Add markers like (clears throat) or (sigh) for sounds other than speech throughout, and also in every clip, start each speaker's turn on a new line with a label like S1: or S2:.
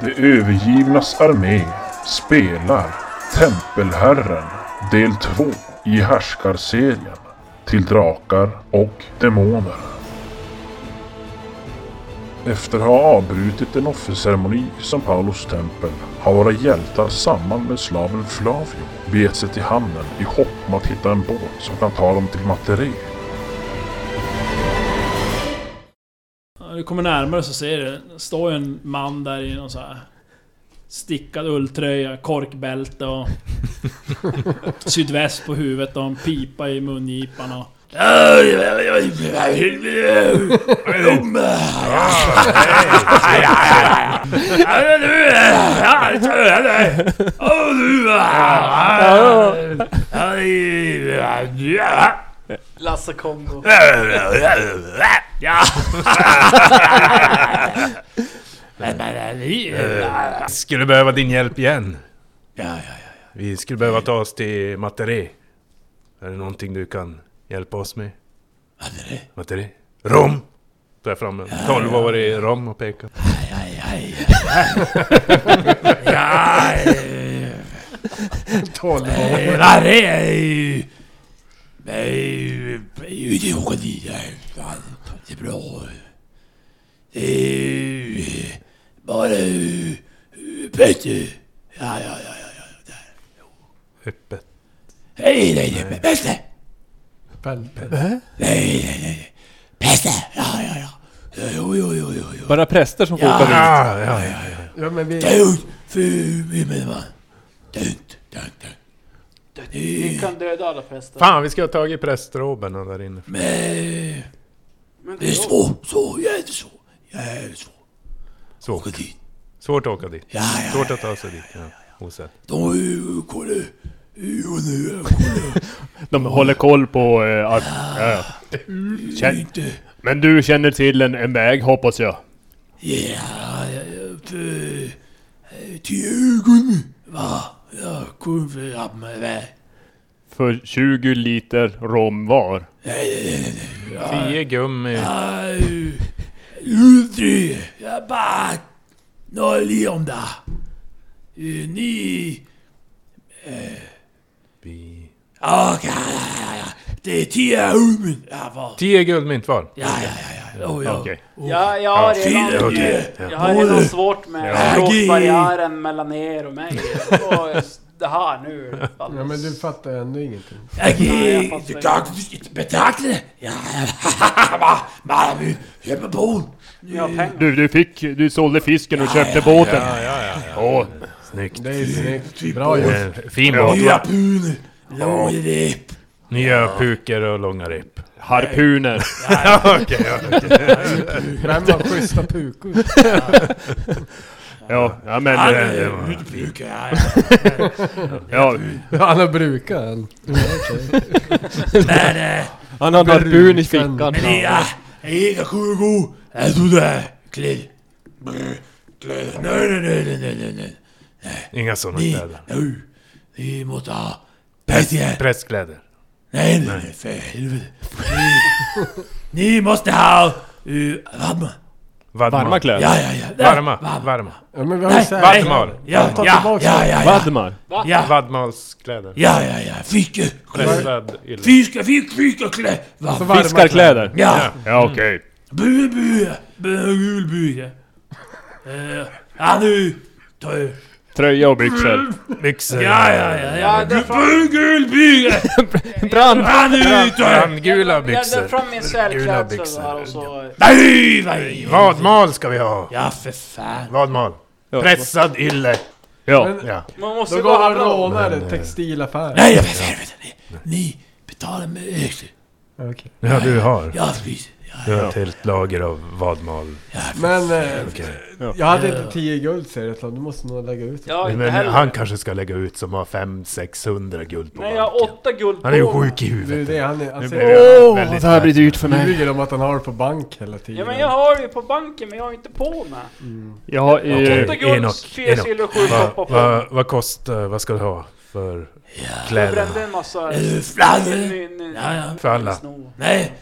S1: De övergivnas armé spelar Tempelherren del 2 i härskarserien till drakar och demoner. Efter att ha avbrutit en offerceremoni i São Paulos tempel har våra hjältar samman med slaven Flavio begett sig till hamnen i hopp om att hitta en båt som kan ta dem till Materé.
S2: Ja, Du kommer närmare så ser du, det står ju en man där i någon så här Stickad ulltröja, korkbälte och... sydväst på huvudet och en pipa i mungipan och...
S3: Lasse Kongo.
S4: Skulle behöva din hjälp igen. Vi skulle behöva ta oss till Materé. Är det någonting du kan hjälpa oss med? Materé? Materé? Rom! Tar jag fram en tolvårig rom och pekar.
S3: eh,
S4: Öppet.
S5: Bara präster som får åka dit.
S4: Ah, ja, ja.
S6: Ja, men vi...
S3: Vi kan döda alla präster.
S4: Fan, vi ska ha tagit prästroberna där inne.
S3: Men det är svårt.
S4: Svårt. Svårt att åka dit. Svårt att ta sig dit. Ja. Osett.
S7: De håller koll på... Eh, att, ja. Känn, men du känner till en, en väg hoppas jag? För 20 liter rom var.
S4: Tio gummi. Vi- Tio guldmynt var.
S7: Okej.
S3: Ja, jag har redan,
S4: Okej.
S3: jag har redan svårt med språkbarriären mellan er och mig. Och det här nu.
S6: Ja, men du fattar ju ändå ingenting.
S3: Nej, jag fattar inte. Jag har pengar.
S7: Du, du fick... Du sålde fisken och köpte båten.
S4: Ja, ja, ja.
S7: Åh,
S4: Snyggt.
S6: Det är ju snyggt. Bra gjort.
S4: Eh, Fin båt va?
S7: Oh.
S4: Nya puker och långa rep.
S7: harpuner.
S4: Okej, ja.
S6: Vem har schyssta pukor?
S7: Ja, ja men... eh,
S4: Det var-
S7: Ja,
S6: Han har brukat en.
S3: (laughs)
S5: Han hade harpun i fickan.
S4: Inga sådana kläder.
S5: nou.
S4: Prästkläder.
S5: Varma
S4: Vadmal.
S5: kläder.
S4: Varma. Varma.
S6: Ja, men vi har ju såhär...
S4: Vadmal.
S6: Ta tillbaka
S5: Vadmar?
S4: Vadmalskläder. Pressad ylle.
S6: så varma
S5: Fiskarkläder?
S7: ja okej.
S4: Mm. Eh,
S5: Tröja och byxor?
S4: Byxor.
S3: Ja, jag drar fram,
S5: Brand!
S4: Brandgula
S3: jag drar
S4: byxor.
S3: fram min
S4: Gula
S3: sälklädsel
S4: byxor.
S3: där och så...
S4: Vadmal ska vi ha. Ja, för fan. Vadmal. Pressad ylle.
S7: Ja.
S4: Ja.
S3: Man måste
S6: Då
S3: ju
S6: går
S3: bara
S6: han och
S3: handla om...
S6: rånar en textilaffär. Okej.
S4: Ja, du har. Du har ett helt lager av vadmal.
S6: Men eh,
S4: Okej.
S6: jag hade inte 10 guld säger jag, utan du måste nog lägga ut det.
S3: Ja, inte
S4: Men
S3: heller.
S4: han kanske ska lägga ut som har 500-600 guld på
S3: Nej, jag har
S4: banken.
S3: åtta guld
S4: Han är ju
S3: på mig.
S4: sjuk i
S6: Det är ju
S4: huvudet.
S6: det han är. Alltså,
S4: blir typ- det- Åh, Väldigt det här blir
S7: dyrt för
S6: han ljuger om att han har det på bank hela tiden.
S3: Ja, men jag har ju på banken, men jag har inte på mig.
S7: Jag har... eh,
S3: Åtta guld,
S4: Enoch,
S3: fyra
S4: Enoch.
S3: silver, sju koppar
S4: Vad
S3: på mig.
S4: va, vad kostar, vad ska du ha för
S3: Jag
S4: kläderna?
S3: brände en massa... Ny- ny-
S4: För alla?
S3: snor.
S4: Nej.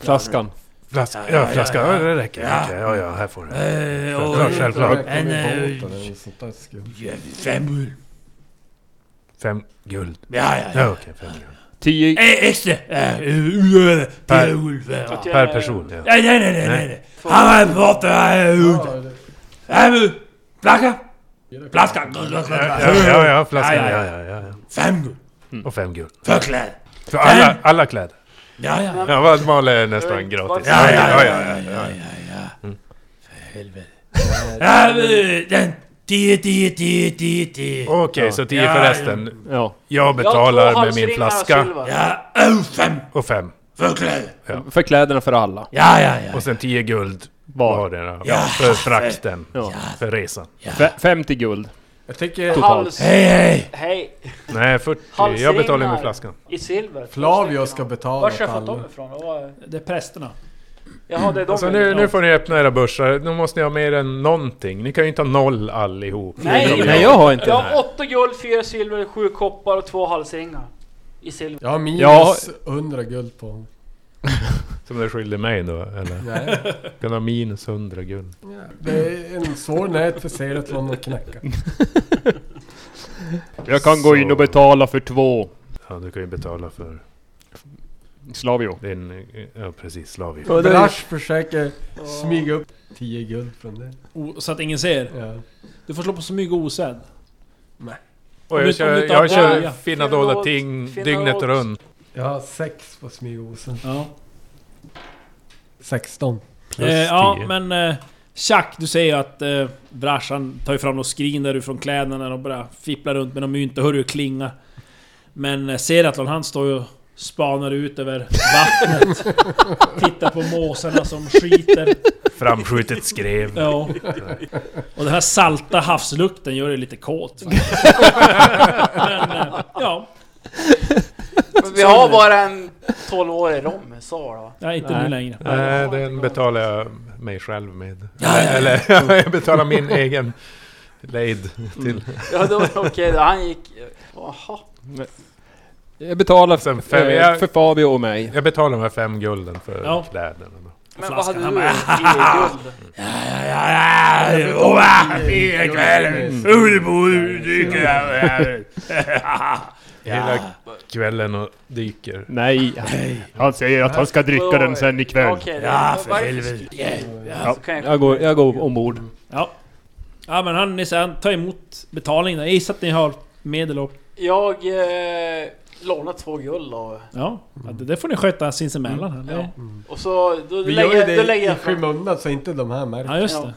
S5: Flaskan?
S4: Flaska, ja, flaska, ja, det räcker. Ja. ja, ja, här får du. Självklart, självklart.
S6: En... Eller sånt där skumt.
S4: Fem guld. Ja, ja, Eh, ja. Okej, fem guld.
S8: Tio...
S4: eh, Per, per person, ja.
S6: Ja, det-
S4: Ja, ja, ja, flaska, ja, ja, ja. ja. Fem guld. Och fem guld. För kläder. För alla, alla kläder. Ja, ja. Ja, vad mal är nästan gratis. Ja, ja, ja. ja, ja. Okej, så tio för resten.
S8: Ja.
S4: Jag
S9: Jag har
S4: betalar med
S9: två
S4: min
S9: halsringar av
S4: flaska.
S9: silver.
S4: Och fem.
S8: För kläderna för alla.
S4: Och sen tio guld.
S8: Var.
S4: Vardera. Ja, för frakten.
S8: Ja.
S4: För resan.
S8: Fe- 50 guld.
S6: Jag tycker...
S9: Hals... Hej, hej! Hej!
S4: Nej, 40. Jag
S9: Halsringar.
S4: betalar med flaskan.
S9: I silver.
S6: Flavio ska betala
S9: Vart ska jag
S6: åt
S9: fått
S6: alla.
S9: dem ifrån? Vad var det?
S3: Det är prästerna.
S9: Jaha, det är de.
S4: Alltså nu, nu får ni öppna era börsar. Nu måste ni ha mer än någonting. Ni kan ju inte ha noll allihop.
S9: Nej,
S8: Nej, jag har inte
S9: Jag
S8: den
S9: har
S8: här.
S9: åtta guld, fyra silver, sju koppar och två halsringar. I silver.
S6: Jag har minus
S8: Ja.
S6: 100 guld på honom.
S4: Som du skyllde mig då, eller?
S6: Nej.
S4: Kan ha minus 100 guld.
S6: Det är en svår nöt för Seratlon att knäcka.
S7: Jag kan gå in och betala för två.
S4: Ja, du kan ju betala för
S7: Slavio.
S4: din... (laughs) Ja, precis. Slavi.
S6: Blash försöker smyga upp 10 guld från det.
S3: O- Så att ingen ser.
S6: Ja.
S3: Du får slå på så mycket osedd.
S4: Och
S3: Om du-
S4: jag
S3: om
S4: kör,
S3: du tar
S4: jag kör
S3: börja.
S4: finna
S9: Finna
S4: dolda
S9: åt-
S4: ting
S9: finna
S4: dygnet
S9: åt.
S4: runt.
S6: Jag har 6 på smygosen.
S3: Ja.
S6: 16.
S4: Plus
S3: eh, ja,
S4: 10.
S3: men... Eh, Tjack, du ser ju att eh, Brashan tar ju fram något skrin där från kläderna och bara fipplar runt med någon mynt och hör hur det klingar. Men eh, Seratlon han står ju och spanar ut över vattnet. (laughs) Tittar på måsarna som skiter.
S4: Framskjutet skrev.
S3: Ja. Och den här salta havslukten gör det lite kåt. (laughs) faktiskt. Men, eh, ja,
S9: Men vi har bara en 12-årig rom, sa va?
S3: nej, inte nu längre.
S4: Nej, den betalar jag mig själv med. Eller, (laughs) jag betalar min egen lejd till.
S9: Ja, då okej, då han gick... Jaha.
S8: Jag betalar
S4: Sen
S8: för,
S4: fem-
S8: eh, för Fabio och mig.
S4: Jag betalar de här fem gulden för
S3: Ja.
S4: kläderna. då.
S9: Men vad
S3: Flaskan,
S9: hade du
S3: han
S9: i
S3: bara,
S9: guld?
S4: Hela kvällen och dyker.
S7: Nej. Han säger att han ska dricka den sen ikväll.
S9: Okej, ja, för helvete. Ja, så kan jag...
S8: Jag går, jag går ombord.
S3: Ja. Ja men han, ni ser, han tar emot betalningen. Jag gissar att ni har medel och...
S9: Jag eh, lånade två guld och,
S3: Ja, ja det, det får ni sköta sinsemellan.
S9: Mm.
S3: här. Ja.
S9: och så... Då
S6: Vi
S9: lägger,
S6: gör ju
S9: då
S6: det
S9: lägger
S6: i
S9: jag fram...
S6: skymundan så inte de här märker.
S3: Ja just
S9: Ja.
S3: det.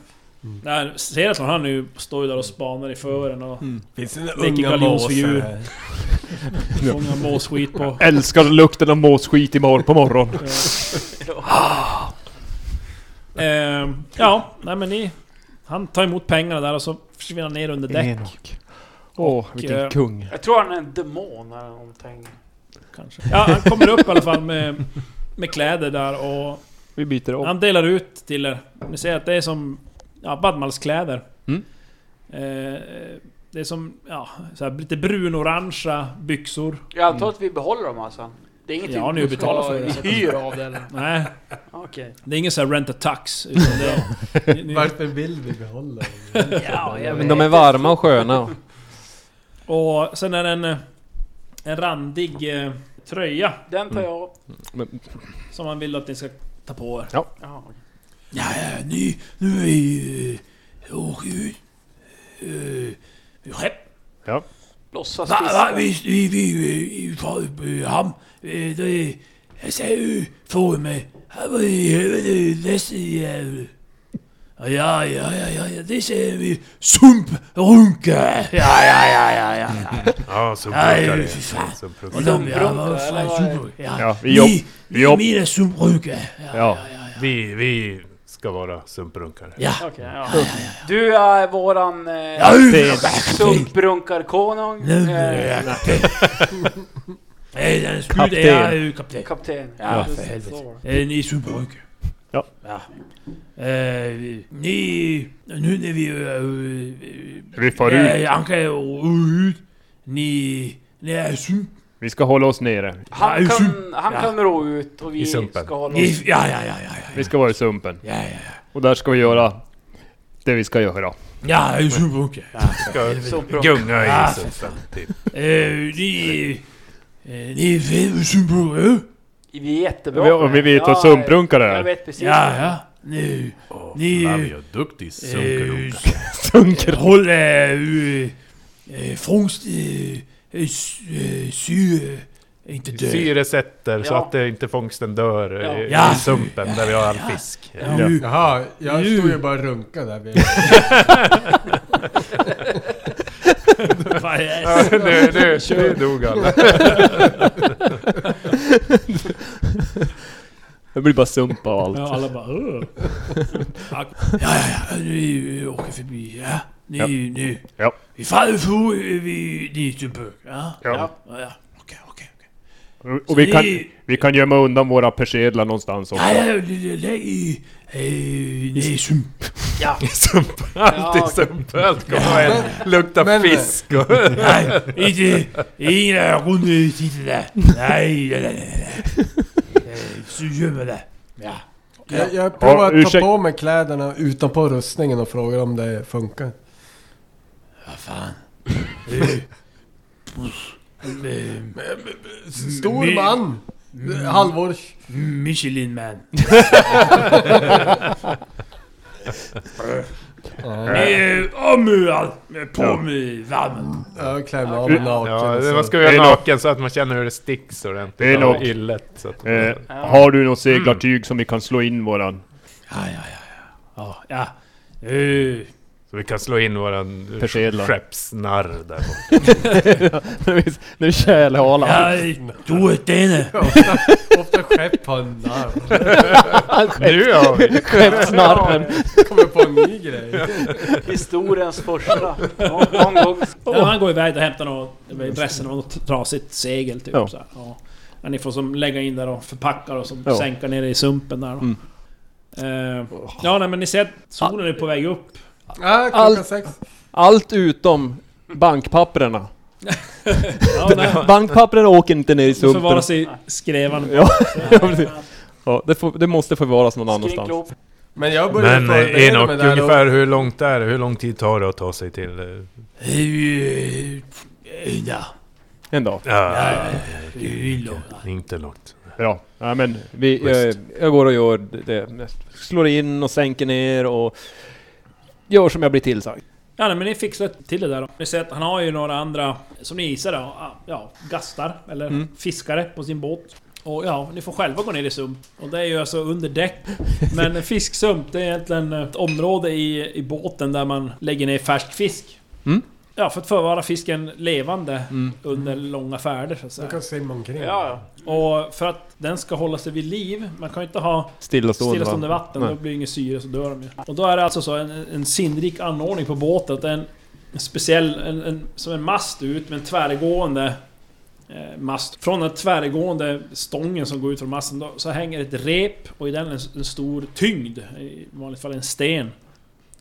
S3: Nej, Seratlon han nu står ju där och spanar i fören och
S6: Finns det
S3: Leker
S6: unga
S3: galjonsfigur.
S6: måsar
S4: Mm.
S6: här?
S3: fångar måsskit på...
S7: Älskar lukten av måsskit imorgon på
S8: (laughs)
S7: morgon.
S3: Ehm, ja, nej men ni... Han tar emot pengarna där och så försvinner han ner under däck
S8: Enok. Åh,
S3: eh,
S8: vilken kung.
S9: Jag tror han är en demon eller någonting.
S3: kanske. Ja, han kommer upp i alla fall med, med kläder där och
S8: Vi byter om.
S3: Han delar ut till er. Ni ser att det är som ja, badmalskläder.
S8: Mm.
S3: Eh, det är som ja, så här, lite brun-orangea byxor.
S9: Jag antar att vi behåller dem alltså? Det är ingenting
S3: Ja, ni
S9: vi
S3: betalar för det.
S9: ska hyra av (laughs) det eller?
S3: Nej,
S9: Okej.
S3: det är ingen sån här rent-a-tux. utan det är- ni- ni-
S6: Varför vill vi behålla dem?
S9: Ja, jag
S8: Men de är varma och sköna.
S3: Och sen är det en, eh, en randig eh, tröja
S9: Den tar jag upp.
S3: som han vill att ni ska ta på er.
S9: Ja, okej.
S7: Äh, øh, øh, Ja.
S9: Låtsas fiska.
S7: øh, øh, øh.
S4: Ja, så brukar det. Så brukar det.
S7: Ja, vi jobb... Vi jobb... Ja.
S4: Vi, vi ska vara sumprunkare.
S9: Okej, ja. Du är våran eh,
S7: øh,
S9: sumprunkarkonung. Eh,
S5: (laughs)
S8: Kapten.
S9: kapten. Ja, för helvete.
S5: Eh, øh, ni är superrygg.
S7: Ja.
S5: Eh, ni, nu när vi øh, eh,
S7: Vi far
S5: eh,
S7: ut.
S5: eh, ankar och ut, ni, ni är sump.
S7: Vi ska hålla oss nere.
S5: Ja,
S9: Han kan, han
S5: ja.
S9: kan ro ut och
S4: I
S9: vi
S4: sumpen.
S9: ska hålla
S5: Ni,
S9: oss.
S5: ja, ja, ja, ja, ja,
S7: Vi ska vara i sumpen.
S5: Ja, ja, ja.
S7: Och där ska vi göra det vi ska göra.
S5: Ja, det är synpunkter.
S9: Så bra.
S4: Gunga
S5: Ah,
S4: i sumpen. Typ.
S5: Eh, Ni... eh, Ni är fem synpunkter.
S9: Vi är jättebra
S7: Vi,
S9: på det
S7: och vi
S9: här.
S7: vet vad sumprunkar
S9: jag, jag
S7: är.
S9: vet precis.
S5: Ja, ja. Øh, Nu... Ni...
S4: Flavio, duktig sunkelunka.
S5: Sunker. Håll... eh, eh, Fångst... eh, eh, s- eh, Sy... eh, Inte dö.
S4: Syresätter så
S9: Ja.
S4: att det inte fångsten dör eh, i,
S5: Ja.
S4: i sumpen där vi har all fisk.
S5: Nu-
S6: Jaha, jag
S5: Nu.
S6: stod ju bara och runkade
S4: (laughs)
S6: där vid...
S3: Vad är det?
S4: Ja, (laughs) nu, nu, nu dog alla.
S7: Det blir bara sumpa och allt.
S3: Ja, alla bara "Åh."
S5: Ja, ja, ja. Ni eh, åker förbi. Ja. Ni...
S7: Ja.
S5: Nu.
S7: Ja.
S5: Vi faller för... eh, Vi... Ni är synpunkter. Ja.
S7: Ja.
S5: Ja, ja. Okej, okej, okej.
S7: Och vi kan, vi kan gömma undan våra persedlar någonstans också.
S5: Nej, nej, nej, nej, lägg i... eh, Nej, sump. (laughs)
S9: Ja.
S4: Allt
S9: Ja.
S4: i sumpen. Allt kommer att lukta
S6: men-
S4: fisk. Och,
S5: Nej, inte... Inga runder titlar där. Nej, nej, nej, nej, nej. Eh, Så gör man det. Ja.
S6: Jag, jag provar att ta
S7: ursäkta.
S6: på mig kläderna utanpå rustningen och frågar om det funkar.
S4: Mm,
S5: Vad fan. Eh, eh,
S6: Stor man!
S4: Mm.
S6: Halvårs...
S5: Michelin man. Eh, Av med allt. På med värmen.
S6: Jag klär mig av mig
S4: (laughs)
S6: naken.
S4: ja, det-
S6: så-
S4: man ska ju
S7: Det är
S4: vara
S7: nog-
S4: naken så att man känner hur det sticks ordentligt.
S7: Det är
S4: av
S7: nog-
S4: Illet. Så att,
S7: Eh, har du något
S3: Mm.
S7: seglartyg som vi kan slå in våran
S5: Ja, ja, ja. Ja, ja. ja. Eh,
S4: så vi kan slå in våran
S7: Persedlar.
S4: skeppsnarr där borta.
S8: Nu är tjälhalan.
S5: Ja, du är denne.
S6: Ofta skepp har en larm.
S4: Nu har vi!
S8: Skeppsnarren.
S6: Kommer på en ny grej.
S9: Historiens (laughs) första. Någon, någon gång.
S3: Ja, han går iväg och hämtar något, resten av något trasigt segel typ.
S7: Ja.
S3: Så här. Ja. Men ni får som lägga in där och förpacka och som
S7: Ja. Mm.
S3: sänka ner det i sumpen där då. Eh, ja nej, men ni ser att solen är på väg upp.
S6: Ah, klockan
S8: Allt-
S6: sex.
S8: Allt utom bankpapperna.
S3: (laughs) Ja, nej,
S8: Bankpapperna åker inte ner i
S3: det
S8: sumpen.
S3: förvaras i skrevan.
S8: Ja, ja, precis. ja, det, får, det måste förvaras någon
S9: Skrek
S8: annanstans.
S9: ihop.
S6: Men jag börjar
S4: Men
S6: förbereda
S4: eh, Enok,
S6: mig där då.
S4: ungefär hur långt är det? Hur lång tid tar det att ta sig till... eh,
S5: Eh, eh, Ja,
S8: En dag.
S4: Ja,
S5: det är långt.
S4: Ah, inte långt.
S7: Bra. Ja, men
S8: Vi, jag, jag går och gör det. Slår in och sänker ner och gör som jag blir tillsagd.
S3: Ja nej, men ni fixar till det där då. Ni ser att han har ju några andra, som ni gissar då, ah, ja, gastar eller fiskare på sin båt. Och ja, ni får själva gå ner i sump. Och det är ju alltså under däck. Men fisksump, det är egentligen ett område i, i båten där man lägger ner färsk fisk.
S8: Mm.
S3: Ja, för att förvara fisken levande under långa färder så att
S6: Jag
S3: säga.
S6: kan simma omkring.
S9: Ja, ja.
S3: Och för att den ska hålla sig vid liv, man kan ju inte ha
S8: Stillastående
S3: stillastående vatten,
S8: Nej.
S3: då blir det ingen syre så dör de ju. Och då är det alltså så en, en sinnrik anordning på båten, att det är en, en speciell, en, en, som en mast ut med en tvärgående eh, mast. Från den tvärgående stången som går ut från masten då, så hänger ett rep och i den en, en stor tyngd, i vanligt fall en sten.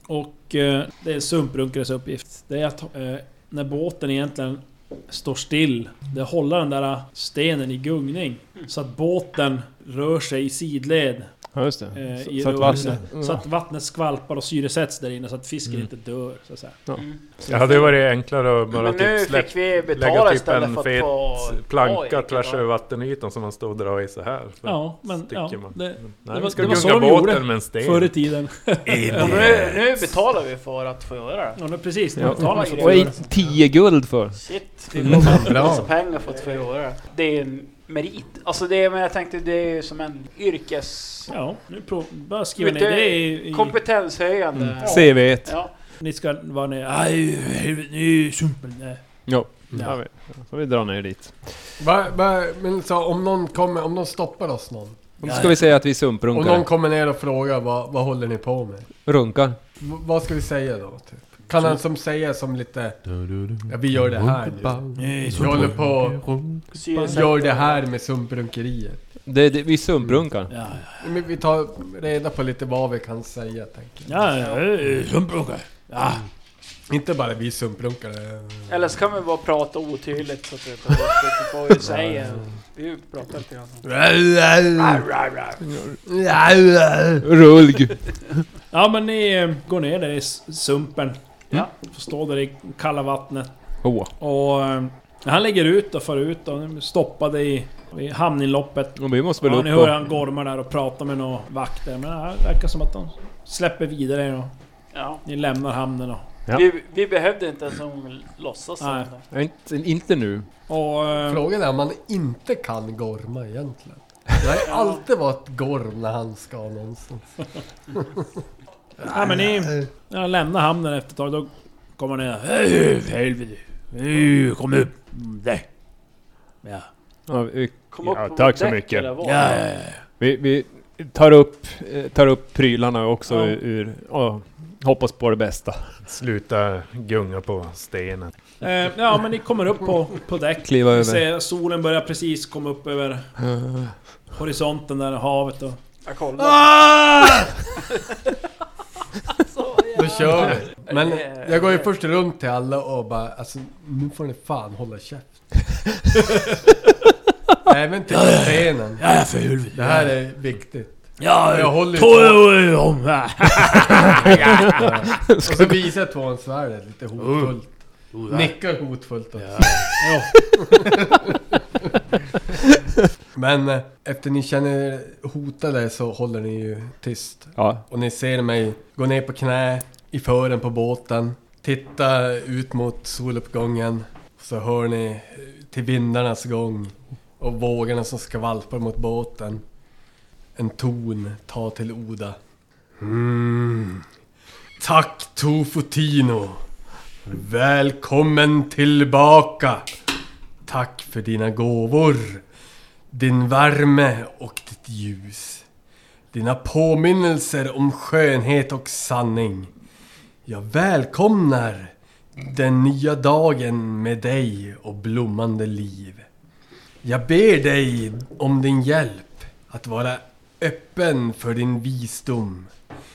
S3: Och eh, det är sumprunkares uppgift, det är att eh, när båten egentligen står still, det är att hålla den där stenen i gungning. Så att båten rör sig i sidled
S8: Ja, just det.
S3: eh,
S8: Så-
S3: i
S8: så att
S3: rörelse.
S8: vattnet- Mm.
S3: Så att vattnet skvalpar och syresätts där inne så att fisken inte dör. Så att säga.
S4: Det hade ju varit enklare att bara
S9: Men nu
S4: typ släppa...
S9: fick vi
S4: Lägga
S9: betala
S4: typ
S9: istället
S4: en
S9: för
S4: fet
S9: att få...
S4: planka
S9: Oj,
S4: tvärs
S9: vilken
S4: över vattenytan som man står och drar i så här. Så
S3: Ja, men
S4: sticker
S3: ja,
S4: man.
S3: det,
S4: Nej,
S3: det
S4: vi
S3: var,
S4: ska
S3: det var så
S4: gunga
S3: de
S4: båten
S3: gjorde
S4: med en sten.
S3: förr i
S4: (laughs)
S3: tiden.
S9: bra. Och nu, nu betalar vi för att få göra det.
S3: Ja, men precis.
S8: Ja.
S3: Ja. Betalar för
S8: Vad
S3: det.
S8: är 10 guld för?
S9: Shit.
S6: Det låter
S9: Massa
S6: Mm. bra.
S9: pengar för att få göra det. Det är en merit. Alltså det är, men jag tänkte det är ju som en yrkes...
S3: Ja, nu prov, bara skriva ner
S9: Mycket
S3: det i... i
S9: Kompetenshöjande.
S6: Mm.
S9: Ja.
S8: CV1.
S9: Ja.
S3: ni ska vara ner...
S5: Aj, helvete, nu är sumpen där.
S8: Ja. ja. vi- Så vi drar ner dit.
S6: Va, va, men så om någon kommer, om någon stoppar oss någon.
S8: Då ska vi säga att vi
S6: Om
S8: sumprunkar.
S6: någon kommer ner och frågar vad, vad håller ni på med?
S8: Runkar.
S6: V, vad ska vi säga då? Typ? Kan han som säger som lite... Ja, vi gör det här nu.
S5: Nej,
S6: Vi håller på
S9: Syresätt.
S6: gör det här med sumprunkerier.
S8: Det, det, vi sumprunkar.
S5: Ja,
S6: Men vi tar reda på lite vad vi kan säga tänker jag.
S5: ja, ja, eh, sumprunkar. Ja,
S6: Inte bara vi sumprunkare.
S9: Eller så kan vi bara prata otydligt så att vi tar bort det. Vi får ju säga... Vi pratar lite grann.
S8: Rulg.
S3: Ja men ni eh, går ner där i s- sumpen.
S9: Ja.
S3: Får stå där i kalla vattnet.
S8: Åh.
S3: Och eh, han lägger ut och för ut och de är stoppade i, i hamninloppet.
S8: Men Vi måste väl
S3: Ja,
S8: upp
S3: ni hör
S8: och...
S3: han gormar där och pratar med några vakter. Men det verkar som att de släpper vidare er och
S9: Ja.
S3: ni lämnar hamnen. Och,
S8: Ja.
S9: Vi, vi behövde inte ens en gång låtsas Alltså. som
S3: Nej.
S9: det.
S8: Ja, Inte, inte nu.
S3: och eh,
S6: Frågan är om man inte kan gorma egentligen. Det (laughs) har ju alltid varit gorm när han ska någonstans.
S3: Ja men ni... När han lämnar hamnen efter ett tag, då kommer han ner.
S5: För helvete. Nu, Kom upp. Mm, Där. Ja.
S8: Ja, vi,
S9: Kom
S7: Ja,
S9: på
S7: tack så
S9: däck
S7: mycket.
S9: eller vad?
S5: Ja, ja, ja.
S8: vi, vi tar, upp, eh, tar upp prylarna också
S3: Ja.
S8: ur... Och hoppas på det bästa.
S4: Sluta gunga på stenen.
S3: Eh, ja men ni kommer upp på, på däck.
S8: Kliva
S3: Ni
S8: över.
S3: ser solen börjar precis komma upp över horisonten där, havet och...
S9: Jag kollar.
S6: Då kör vi. Men jag går ju först runt till alla och bara alltså, nu får ni fan hålla (laughs) käft. Även till scenen.
S5: Ja, ja, för helvete.
S6: Det här är viktigt.
S5: Ja,
S6: Jag håller ju
S5: Ta
S6: på.
S5: er om. Ja.
S6: Och så visar jag tvåan svärdet lite hotfullt. Nickar hotfullt också. (laughs) Men eh, efter ni känner er hotade så håller ni ju tyst.
S8: Ja.
S6: Och ni ser mig gå ner på knä i fören på båten. Titta ut mot soluppgången. Så hör ni eh, till vindarnas gång och vågorna som skvalpar mot båten. En ton ta till Oda. Mm. Tack Tofotino! Välkommen tillbaka! Tack för dina gåvor! Din värme och ditt ljus. Dina påminnelser om skönhet och sanning. Jag välkomnar den nya dagen med dig och blommande liv. Jag ber dig om din hjälp att vara öppen för din visdom.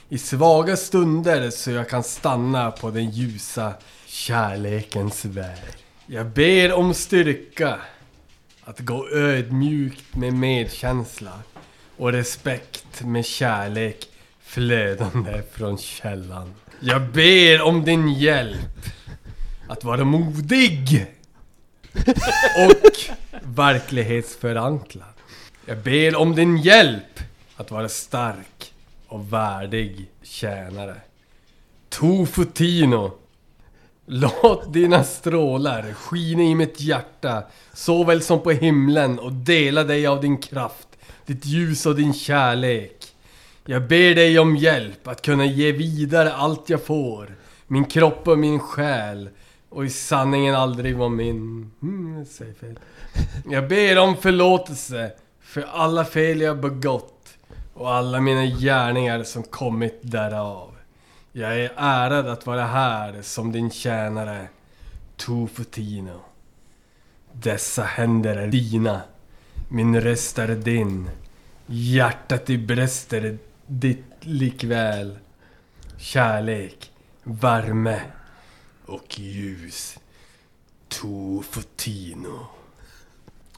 S6: I svaga stunder så jag kan stanna på den ljusa kärlekens väg. Jag ber om styrka att gå ödmjukt med medkänsla och respekt med kärlek flödande från källan. Jag ber om din hjälp att vara modig och verklighetsförankrad. Jag ber om din hjälp att vara stark och värdig tjänare. Tofutino Låt dina strålar skina i mitt hjärta såväl som på himlen och dela dig av din kraft, ditt ljus och din kärlek. Jag ber dig om hjälp att kunna ge vidare allt jag får, min kropp och min själ och i sanningen aldrig vara min... Mm, jag säger fel. Jag ber om förlåtelse för alla fel jag begått och alla mina gärningar som kommit därav. Jag är ärad att vara här som din tjänare, Tofutino. Dessa händer är dina, min röst är din, hjärtat i bröst är ditt likväl. Kärlek, värme och ljus. Tofutino.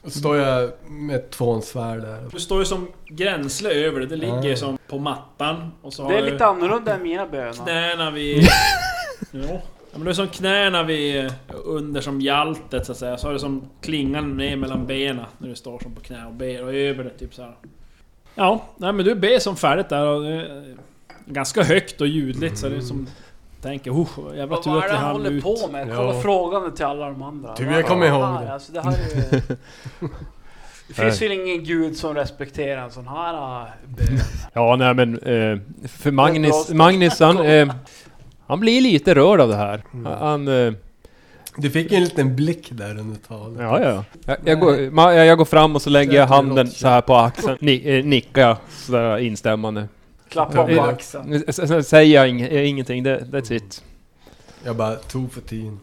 S6: Och så står jag med tvånsvärd där.
S3: Du står ju som gränsle över det, det ligger ju som på mattan. Och så har
S9: Det är
S3: du
S9: lite annorlunda än mina böner.
S3: knäna vid... jo. Ja, men du är som knäna vid... Under som hjaltet så att säga. Så har du som klingan ner mellan benen. När du står som på knä och ber och över det typ så här. Ja, nej men du ber som färdigt där och... eh, Ganska högt och ljudligt så det är som... Tänker oh, jävla
S9: Vad
S3: tur
S9: var
S3: att
S9: det
S3: vi
S9: han
S3: hann
S9: håller
S3: ut.
S9: på med? Kolla
S6: Ja.
S9: frågande till alla de andra.
S6: Tur
S9: Vad
S6: jag kommer
S9: är
S6: ihåg
S9: här?
S6: det.
S9: Alltså, det här är
S6: (laughs)
S9: ju... Det finns väl ingen gud som respekterar en sån här ah, bön.
S8: Ja, nej men... Eh, för Magnus,
S9: bra.
S8: Magnus han... Eh, han blir lite rörd av det här. Han... Eh,
S6: Du fick en liten blick där under talet.
S8: ja, ja. Jag, jag, går, ma, jag jag går fram och så lägger jag handen så här på axeln. Ni, eh, nickar jag sådär instämmande.
S9: Klappa om
S8: Ja.
S9: axeln.
S8: S- s- Sen säger jag ing, eh, ingenting, det, that's it.
S6: Jag bara, Tofutino.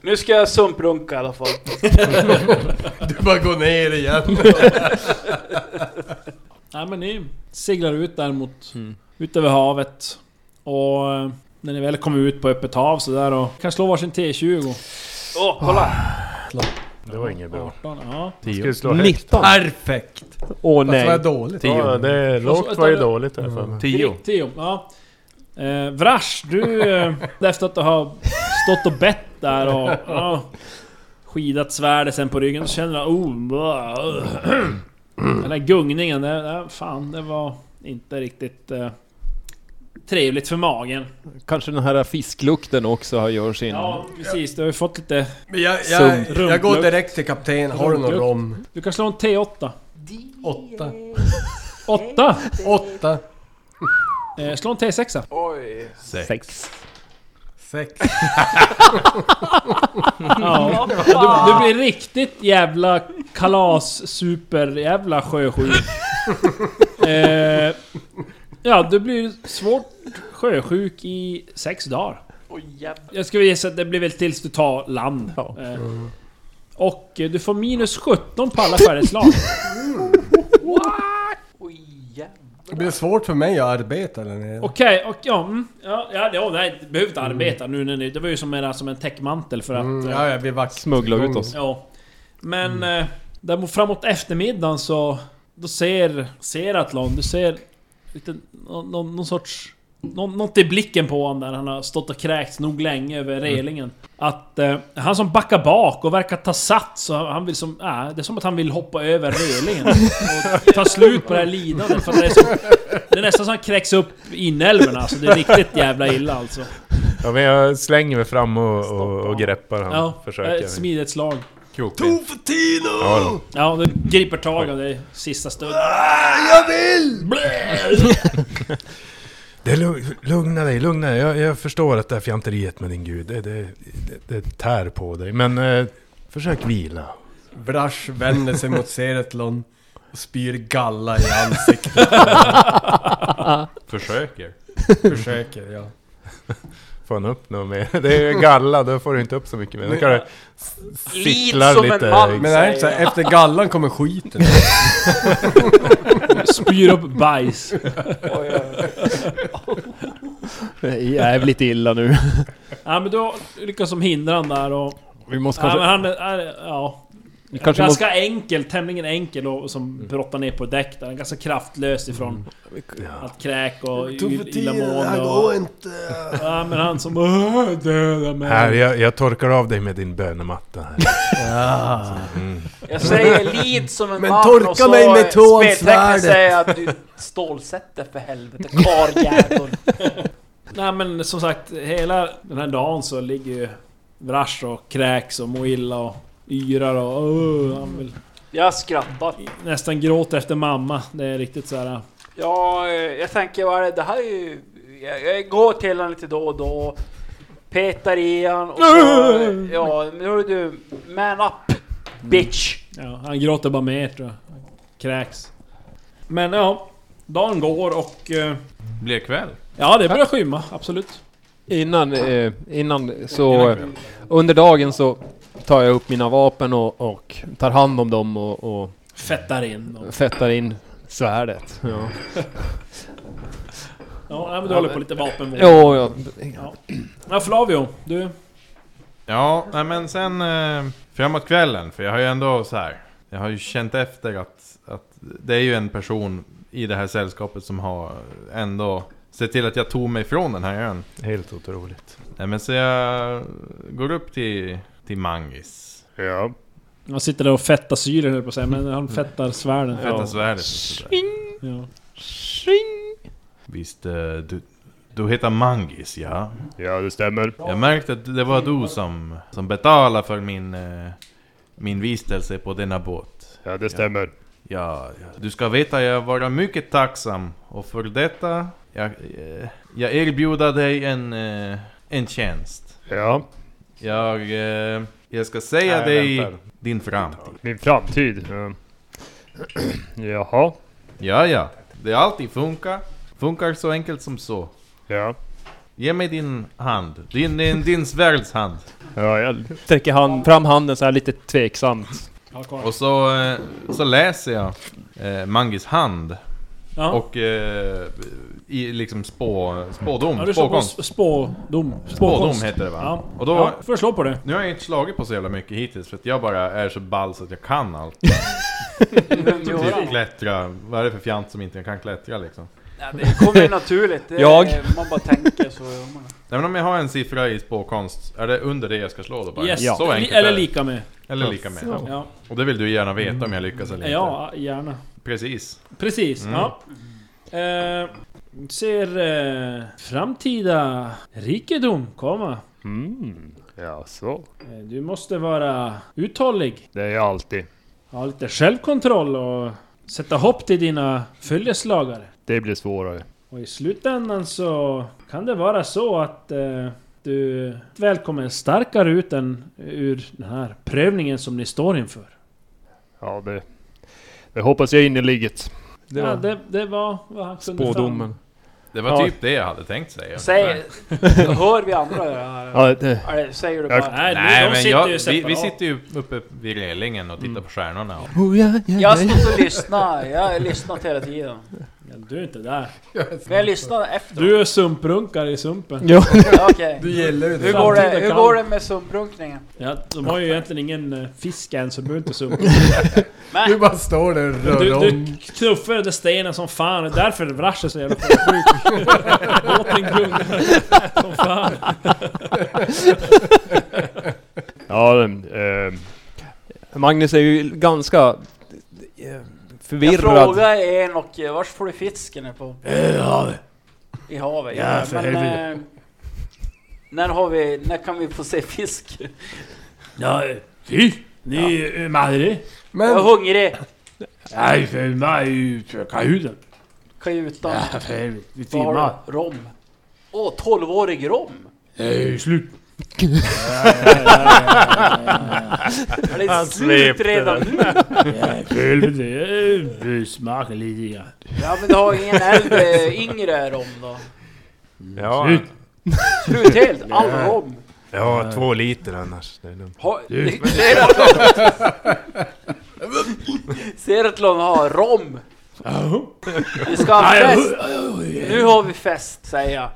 S9: Nu ska jag sumprunka i alla fall.
S6: (laughs) Du bara går ner igen.
S3: Nej men ni seglar ut där mot...
S8: Mm.
S3: Ut över havet. Och eh, När ni väl kommer ut på öppet hav sådär och kan slå varsin T20.
S9: Åh, kolla!
S4: Det var inget bra.
S3: 18, ja.
S4: Ska
S8: 10.
S4: vi slå högt?
S8: 19!
S6: Perfekt!
S8: Åh
S6: Fast det var
S8: nej!
S6: dåligt.
S4: Ja, det är lågt var ju dåligt här för mig.
S3: 10. ja. Eh, Vrash, du... Eh, efter att ha stått och bett där och... ja, skidat svärdet sen på ryggen så känner du... Oh, blah, ugh. Den där gungningen, det, det, fan det var inte riktigt... Eh, trevligt för magen.
S8: Kanske den här fisklukten också har- gör sin...
S3: Ja, precis. Du har ju fått lite...
S6: Men jag,
S8: Sunt.
S6: jag, jag går
S3: Rumplukt.
S6: direkt till kapten. Har du någon
S3: Rumplukt.
S6: rom?
S3: Du kan slå en T8.
S6: Åtta.
S3: 8!
S6: Åtta.
S3: Eh, slå en T6.
S8: Sex.
S6: Sex.
S9: (laughs)
S3: Ja. Du, du blir riktigt jävla kalas super jävla sjösjuk.
S9: (laughs)
S3: eh, ja, du blir svårt sjösjuk i sex dagar.
S9: Oj jävlar.
S3: Jag skulle gissa att det blir väl tills du tar land. Eh, och eh, du får minus 17 på alla färdigslag.
S9: Oj jävlar.
S6: Det blir svårt för mig att arbeta där nere.
S3: Okej, och ja... Mm, ja, ja, ja nej, du behöver inte arbeta nu när ni... Det var ju som, en- som en täckmantel för att...
S6: Mm,
S3: eh,
S6: ja, ja, vi vakt.
S8: Smuggla ut oss.
S3: Ja. Men
S4: Mm.
S3: eh, däremot framåt eftermiddagen så... Då ser, ser Atlon, du ser lite, någon, någon, någon sorts... Någon, något i blicken på honom där han har stått och kräkts nog länge
S4: Mm.
S3: över relingen. Att eh, han som backar bak och verkar ta sats så han vill som... Äh, det är som att han vill hoppa över
S4: (laughs)
S3: relingen. Och ta slut på det här lidandet för att det är, som, det är nästan som att han kräks upp inälvorna alltså. Det är riktigt jävla illa alltså.
S4: Ja, men jag slänger mig fram och, och, och greppar han.
S3: Ja, Eh, ett
S4: Försöker.
S3: smidigt slag.
S4: Krokben. Ja, då.
S3: Ja, du griper tag av dig sista stund.
S4: Det är lugn, lugna dig, lugna dig. Jag, jag förstår att det här fjanteriet med din gud, det, det, det, det tär på dig. Men eh, försök vila.
S6: Brash vänder sig mot Seretlon och spyr galla i ansiktet.
S4: Försöker?
S6: Försöker, ja.
S4: Får han upp något mer? Det är ju galla, då får du inte upp så mycket mer. Då kan det s- sipplar
S9: som en man.
S6: Men är det inte så här, efter gallan kommer skiten?
S3: Spyr upp bajs.
S8: Det är Jävligt illa nu.
S3: Ja men då lyckas som hindra han där och...
S8: (laughs) Vi måste
S3: Ja,
S8: kanske...
S3: men han är, är, ja,
S8: vi kanske måste...
S3: ganska enkel, tämligen enkel och, och som brottar ner på däck där. Ganska kraftlös ifrån
S8: Mm.
S3: allt kräk och illamående och...
S6: inte.
S3: Ja men han som... "Åh, Döda mig.
S4: Här, jag, jag torkar av dig med din bönematta här.
S9: Jag säger lid som en
S6: Men
S9: man
S6: torka
S9: och så
S6: mig med
S9: eh,
S6: tån,
S9: speltecknet
S6: svärdet.
S9: säger att du stålsätter för helvete karljävel.
S3: Nej men som sagt, hela den här dagen så ligger ju Vrash och kräks och mår illa och yrar och... "Åh, han vill,
S9: Jag skrattar.
S3: nästan gråter efter mamma. Det är riktigt så här.
S9: Ja, eh, jag tänker vad är det, det här är ju... Jag, jag går till honom lite då och då. och Petar i honom och så... eh, Ja, nu är du... Man up! Bitch!
S3: Ja, han gråter bara mer tror jag. Han Kräks. Men ja, dagen går och... eh,
S10: Blir det kväll?
S3: Ja, det börjar skymma, absolut.
S8: Innan, eh, innan så... eh, Under dagen så tar jag upp mina vapen och, och tar hand om dem och, och
S3: Fettar in. Och,
S8: fettar in svärdet. Ja,
S3: ja, nej, men du håller på lite vapenvård.
S8: ja, ja.
S3: Ja, Flavio. Du...
S10: Ja, nej men sen eh, framåt kvällen, för jag har ju ändå så här. Jag har ju känt efter att, att det är ju en person i det här sällskapet som har ändå sett till att jag tog mig från den här ön.
S4: Helt otroligt.
S10: Nej men så jag går upp till, till Mangis.
S7: Ja.
S3: Han sitter där och fettar syren höll jag på att säga, men
S10: Mm.
S3: han fettar svärden.
S10: Feta svärdet.
S3: Ja.
S10: Visst, eh, du, du heter Mangis ja?
S7: Ja, det stämmer.
S10: Jag märkte att det var du som, som betalade för min, eh, min vistelse på denna båt.
S7: Ja, det stämmer.
S10: Ja, ja. du ska veta jag var mycket tacksam och för detta jag, eh, jag erbjuder dig en, eh, en tjänst.
S7: Ja.
S10: Jag, eh, jag ska säga
S4: Nej,
S10: dig
S4: vänta.
S10: din framtid.
S7: Min framtid. Ja. (clears throat) Jaha.
S10: Ja, ja. Det alltid funkar. Funkar så enkelt som så.
S7: Ja.
S10: Ge mig din hand. Din, din, din svärdshand.
S7: Ja, jag sträcker hand, fram handen så här lite tveksamt.
S10: Och så, eh, så läser jag eh, Mangis hand.
S3: Ja.
S10: Och eh, i liksom spå, spådom,
S3: Ja, du slår på
S10: spåkonst.
S3: s- spådom.
S10: Spådom
S3: Spåkonst.
S10: heter det va?
S3: Ja.
S10: Och då,
S3: ja, får jag slå på det?
S10: Nu har jag inte slagit på så jävla mycket hittills för att jag bara är så ball så att jag kan allt. typ (laughs) klättra, vad är det för fjant som inte kan klättra liksom?
S9: Ja, det kommer ju naturligt. Det,
S8: Jag.
S9: Man bara tänker så. gör man det.
S10: Nej men om jag har en siffra i spåkonst, är det under det jag ska slå då bara?
S3: Yes.
S10: Så enkelt
S3: Eller
S10: är det.
S3: lika med.
S10: Eller lika med.
S3: Ja,
S10: Och det vill du gärna veta om jag lyckas eller inte.
S3: ja gärna.
S10: Precis.
S3: Precis,
S7: Mm.
S3: ja. Eh, ser eh, framtida rikedom komma.
S7: Mm. Ja, så.
S3: Eh, Du måste vara uthållig,
S7: Det är jag alltid.
S3: ha lite självkontroll och sätta hopp till dina följeslagare.
S7: Det blir svårare.
S3: Och i slutändan så kan det vara så att eh, du väl kommer starkare ut än ur den här prövningen som ni står inför.
S7: Ja, det... Det hoppas jag innerligt.
S8: Det
S3: ja,
S8: var
S3: det, det var vad han kunde fram-
S8: spådomen.
S10: Det var
S7: Ja.
S10: typ det jag hade tänkt säga.
S9: Säg, hör vi andra
S8: (laughs)
S9: det här?
S7: Ja, det...
S9: Eller säger du
S7: Jag-
S9: bara...
S3: Nej,
S10: Nej
S3: de
S10: men
S3: sitter
S10: jag,
S3: ju
S10: vi,
S3: separat.
S10: vi sitter ju uppe vid relingen och tittar på stjärnorna. Och,
S9: Jag stod och lyssnade. Jag har lyssnat hela tiden.
S3: Ja, du är inte där.
S9: Men jag lyssnade efter.
S3: Du är sumprunkare i sumpen.
S8: Ja,
S9: Ja, okej.
S6: Det gäller ju
S9: Hur
S6: det.
S9: går det,
S3: Framtida
S9: hur
S3: kan.
S9: går det med sumprunkningen?
S3: Ja, de har ju egentligen ingen eh, fisk än så de behöver inte (laughs) sumpa.
S6: Du bara står där och
S3: Du,
S6: rör om.
S3: du knuffar den där stenen som fan, det är därför Vrash är så jävla sjuk. (laughs) Båten gungar som fan.
S7: Ja, eh,
S8: Magnus är ju ganska eh,
S9: Jag
S8: förvirrad.
S9: frågade en och eh, vars får du fisken ifrån?
S5: Eh,
S9: I havet.
S5: Ja, för helvete.
S9: eh, när har vi, när kan vi få se fisk?
S5: Nej, fisk? Ni är madre?
S9: Jag är
S6: Men
S9: hungrig!
S5: Nej, för mig för kajuten.
S9: Kajutan.
S5: Ja, för helvete. Vi
S9: Vad
S5: simmar.
S9: har du? Rom. Åh, 12-årig rom!
S5: Det är slut.
S9: Är det slut redan nu?
S5: Ja, för helvete. Jag smakar lite grann.
S9: Ja men du har ingen äldre, yngre rom då?
S4: Ja,
S5: Slut.
S9: Slut helt, all rom!
S4: jag har två liter annars. Det är lugnt.
S9: Har- (laughs) Seratlon- Seratlon har rom! Vi ska ha fest! Nu har vi fest säger jag.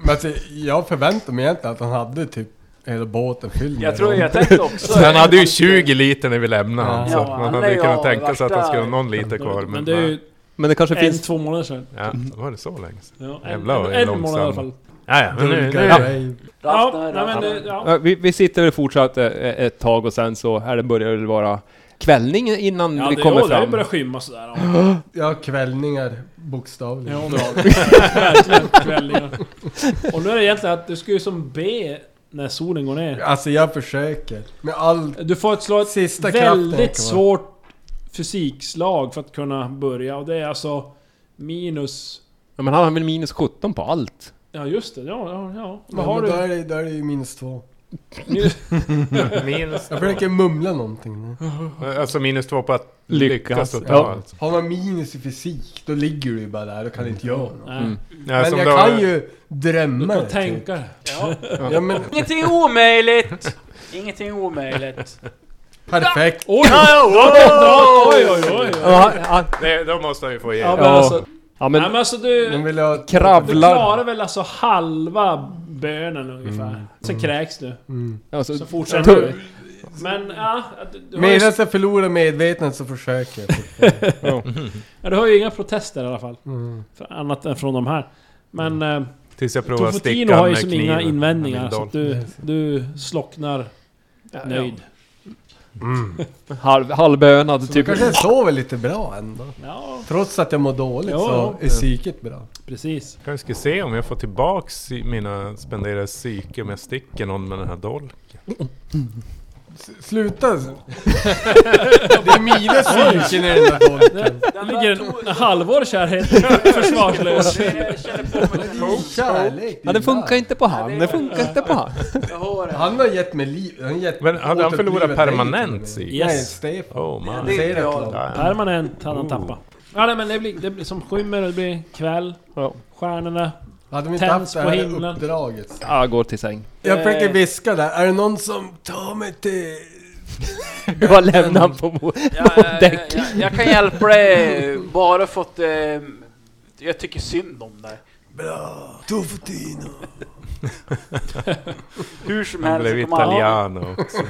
S6: Men alltså, jag förväntade mig egentligen att han hade typ hela båten fylld
S9: Jag tror Alltså, jag tänkte också...
S4: Han hade ju 20 liter när vi lämnade han, så
S9: Ja,
S4: man
S9: han
S4: hade
S9: är
S4: ju
S9: ju
S4: kunnat tänka sig att han
S9: värsta-
S4: skulle ha någon liter kvar. Men,
S3: Men det är ju
S8: Men det kanske
S3: en,
S8: finns...
S3: två månader sedan.
S4: Ja, var det så länge sedan?
S3: Ja, en,
S4: Jävlar, vad
S3: en,
S4: jag är
S3: en månad i alla
S4: långsam.
S3: fall.
S4: Ja, ja, men nu, nu,
S6: Dunka dig.
S3: Ja,
S9: Raften,
S3: nej, men
S9: raften.
S3: det, ja.
S8: Ja, vi, vi sitter väl fortsatt eh, ett tag och sen så här det börjar väl vara kvällning innan
S3: Ja,
S8: vi
S3: det,
S8: kommer
S3: ja, det
S8: fram.
S3: börjar skymma sådär. Ja,
S6: Ja, kvällningar bokstavligen.
S3: ja (laughs) det har det. Verkligen, kvällingar. Och nu är det egentligen att du ska ju som be när solen går ner.
S6: Alltså jag försöker. Med all...
S3: Du får ett slå ett
S6: Sista kraften, kan man-
S3: väldigt svårt fysikslag för att kunna börja och det är alltså minus...
S8: Ja, men han har väl minus 17 på allt?
S3: Ja just det, ja, ja, ja.
S6: Men
S3: Vad har
S6: Då
S3: du?
S6: är, det, då är det ju minus två.
S4: (laughs)
S3: Minus-
S4: minus,
S6: Jag försöker mumla någonting. nu.
S4: alltså minus två på att
S8: Lyckas,
S4: lyckas
S8: ja.
S4: totalt.
S6: Har man minus i fysik, då ligger du ju bara där och kan inte göra något.
S3: Nej.
S4: Ja.
S6: Men
S4: som
S6: jag
S4: då-
S6: kan ju drömma.
S3: Du kan
S6: typ.
S3: tänka det.
S6: Ja men
S9: Ingenting är omöjligt! Ingenting är omöjligt.
S6: perfekt.
S3: Oj! Oj, oj, oj! oj.
S8: Ja, han, han,
S4: Nej, då måste han ju få
S3: Ja,
S4: igenom.
S3: men alltså,
S8: ja,
S3: nej,
S8: men
S3: men alltså du...
S6: De vill ha...
S3: Du
S8: kravlar.
S3: klarar väl alltså halva bönen
S4: Mm.
S3: ungefär. Sen kräks du.
S6: Mm.
S8: Alltså,
S3: Så fortsätter
S8: tu-
S3: du. Men ja, du, du, har ju,
S6: Medan jag förlorar medvetandet så försöker jag.
S3: ja, du har ju inga protester i alla fall. För annat än från de här. Men eh,
S4: Tills Mm. jag provar
S3: Tofotino
S4: stickan
S3: har ju
S4: med
S3: som inga
S4: kniven.
S3: invändningar.
S4: Min
S3: Så
S4: dolk.
S3: att du, du slocknar nöjd.
S8: halv, halvbönad
S6: Jag
S8: typ.
S6: kanske jag sover lite bra ändå.
S3: Ja,
S6: Trots att jag mår dåligt
S3: Ja,
S6: så är psyket bra.
S3: precis.
S4: Kanske ska se om jag får tillbaks i- mina spenderade psyke om jag sticker någon med den här dolken.
S6: (laughs) Sluta! Det är mina psyken i den där bollen.
S3: Det ligger en halvår kärhet (laughs) försvarslös.
S9: Jag känner på mig den-
S6: Kärlek!
S8: Ja, det funkar
S6: gillar.
S8: inte på han. Det funkar inte på han.
S9: jag hör det.
S6: Han har gett mig liv. Han har gett
S4: Men hade han förlorat
S6: återupplivat dig
S4: permanent
S6: till och med.
S4: psyke?
S3: Yes.
S6: Nej, Stefan.
S4: Oh man.
S9: Det är
S6: Säg det
S9: inte jag.
S6: klart.
S3: Permanent hade han tappat. Ja, nej, men det blir, det blir som skymmer och det blir kväll.
S8: Ja.
S3: Stjärnorna.
S6: Hade vi inte
S3: Tänds
S6: haft det
S3: på
S6: här
S3: himlen.
S6: uppdraget?
S8: Ja, går till säng.
S6: Jag
S9: Eh.
S6: försöker viska där. Är det någon som tar mig till
S8: Du har lämnat på mo-
S9: Ja, jag,
S8: däck.
S9: jag, jag kan hjälpa dig bara för att eh, jag tycker synd om dig.
S5: Bra! Tofutino!
S9: Hur som
S4: Han
S9: helst
S4: blev
S9: så kommer han-
S4: italiano också.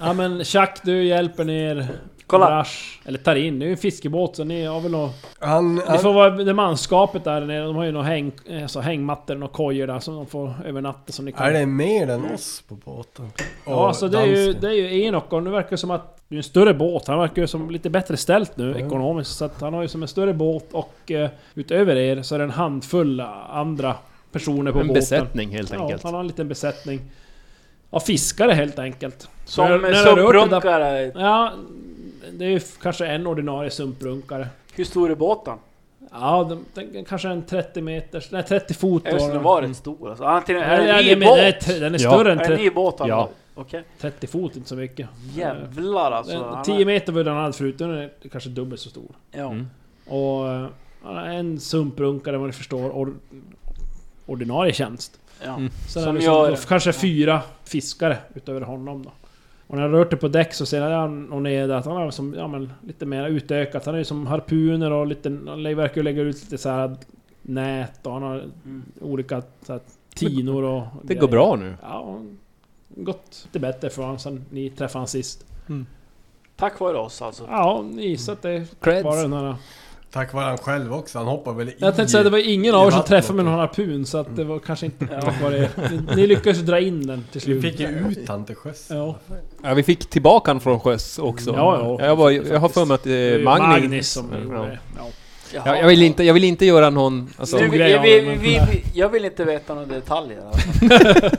S3: Ja men Chuck, du hjälper ner...
S9: Kolla.
S3: Brash, eller tar in, det är ju en fiskebåt så ni har väl nå...
S6: Han,
S3: Ni får
S6: han,
S3: vara det manskapet där nere, de har ju några häng, alltså hängmattor och kojer där som de får övernatta som ni kan...
S6: är det mer än oss på båten?
S3: Ja,
S6: Och
S3: så det är, ju,
S6: dansken.
S3: det är ju Enok och nu verkar det som att det är en större båt. Han verkar ju som lite bättre ställt nu ekonomiskt. Så att han har ju som en större båt och eh, utöver er så är det en handfull andra personer på
S8: En
S3: båten.
S8: besättning helt
S3: Ja,
S8: enkelt.
S3: han har en liten besättning. Ja, fiskare helt enkelt.
S9: Som
S3: När- när
S9: eh,
S3: jag rör upp det där-
S9: sumprunkare.
S3: Ja, det är ju f- kanske en ordinarie sumprunkare.
S9: Hur stor är båten?
S3: Ja, de, den- kanske en 30 meters... Nej, 30 fot
S9: Jag visste den var rätt stor alltså. Han har till- Är
S3: Mm. Nej,
S9: det
S3: nej, nej,
S9: en ny
S3: men den, är,
S9: båt?
S3: tre- den är
S8: Ja.
S3: större än
S9: Är det en
S3: 30,
S9: ny båt han
S8: Ja.
S9: har? Okej.
S3: 30 fot, inte så mycket.
S9: Jävlar alltså.
S3: Den-
S9: han
S3: 10
S9: är-
S3: Eh, meter var den hade förut, den är kanske dubbelt så stor.
S9: Ja.
S8: Mm.
S3: Och eh, han är en sumprunkare vad ni förstår, or, ordinarie tjänst.
S9: ja.
S8: Mm.
S3: Sen
S9: Som
S3: är det liksom
S9: gör-
S3: då kanske fyra fiskare utöver honom då. Och när han rört det på däck så ser han och ner där att han har som, ja, men, lite mer utökat. Han är ju som harpuner och lite, han lä- verkar ju lägga ut lite så här nät och han har
S9: Mm.
S3: olika så här, tinor och
S8: Det går
S3: grejer.
S8: bra nu.
S3: Ja, och gått lite bättre för honom sen ni träffade honom sist.
S9: Tack vare oss alltså.
S3: Ja, ni gissar att det
S8: Creds.
S3: var den här
S6: Tack vare han själv också, han hoppar väl i...
S3: Jag tänkte säga det var ingen av
S6: i
S3: er som
S6: vattnet.
S3: träffade med någon harpun så att det var kanske inte tack vare er. Ni- Ni lyckades ju dra in den till
S6: Vi
S3: slut.
S6: fick ju ut han till sjöss.
S3: Ja.
S8: Ja, vi fick tillbaka han från sjöss också.
S3: Ja, ja.
S8: jag, var, jag har för mig att
S3: Det är
S8: det
S3: ju
S8: är Magnus.
S3: Magnus som gjorde
S8: ja.
S3: det. Ja.
S8: jag, jag, vill inte, jag vill inte göra någon... Alltså,
S9: Du, vi,
S3: grej av
S9: vi,
S3: det, men-
S9: vi, vi, jag vill inte veta några detaljer.
S3: (laughs)
S9: Alltså.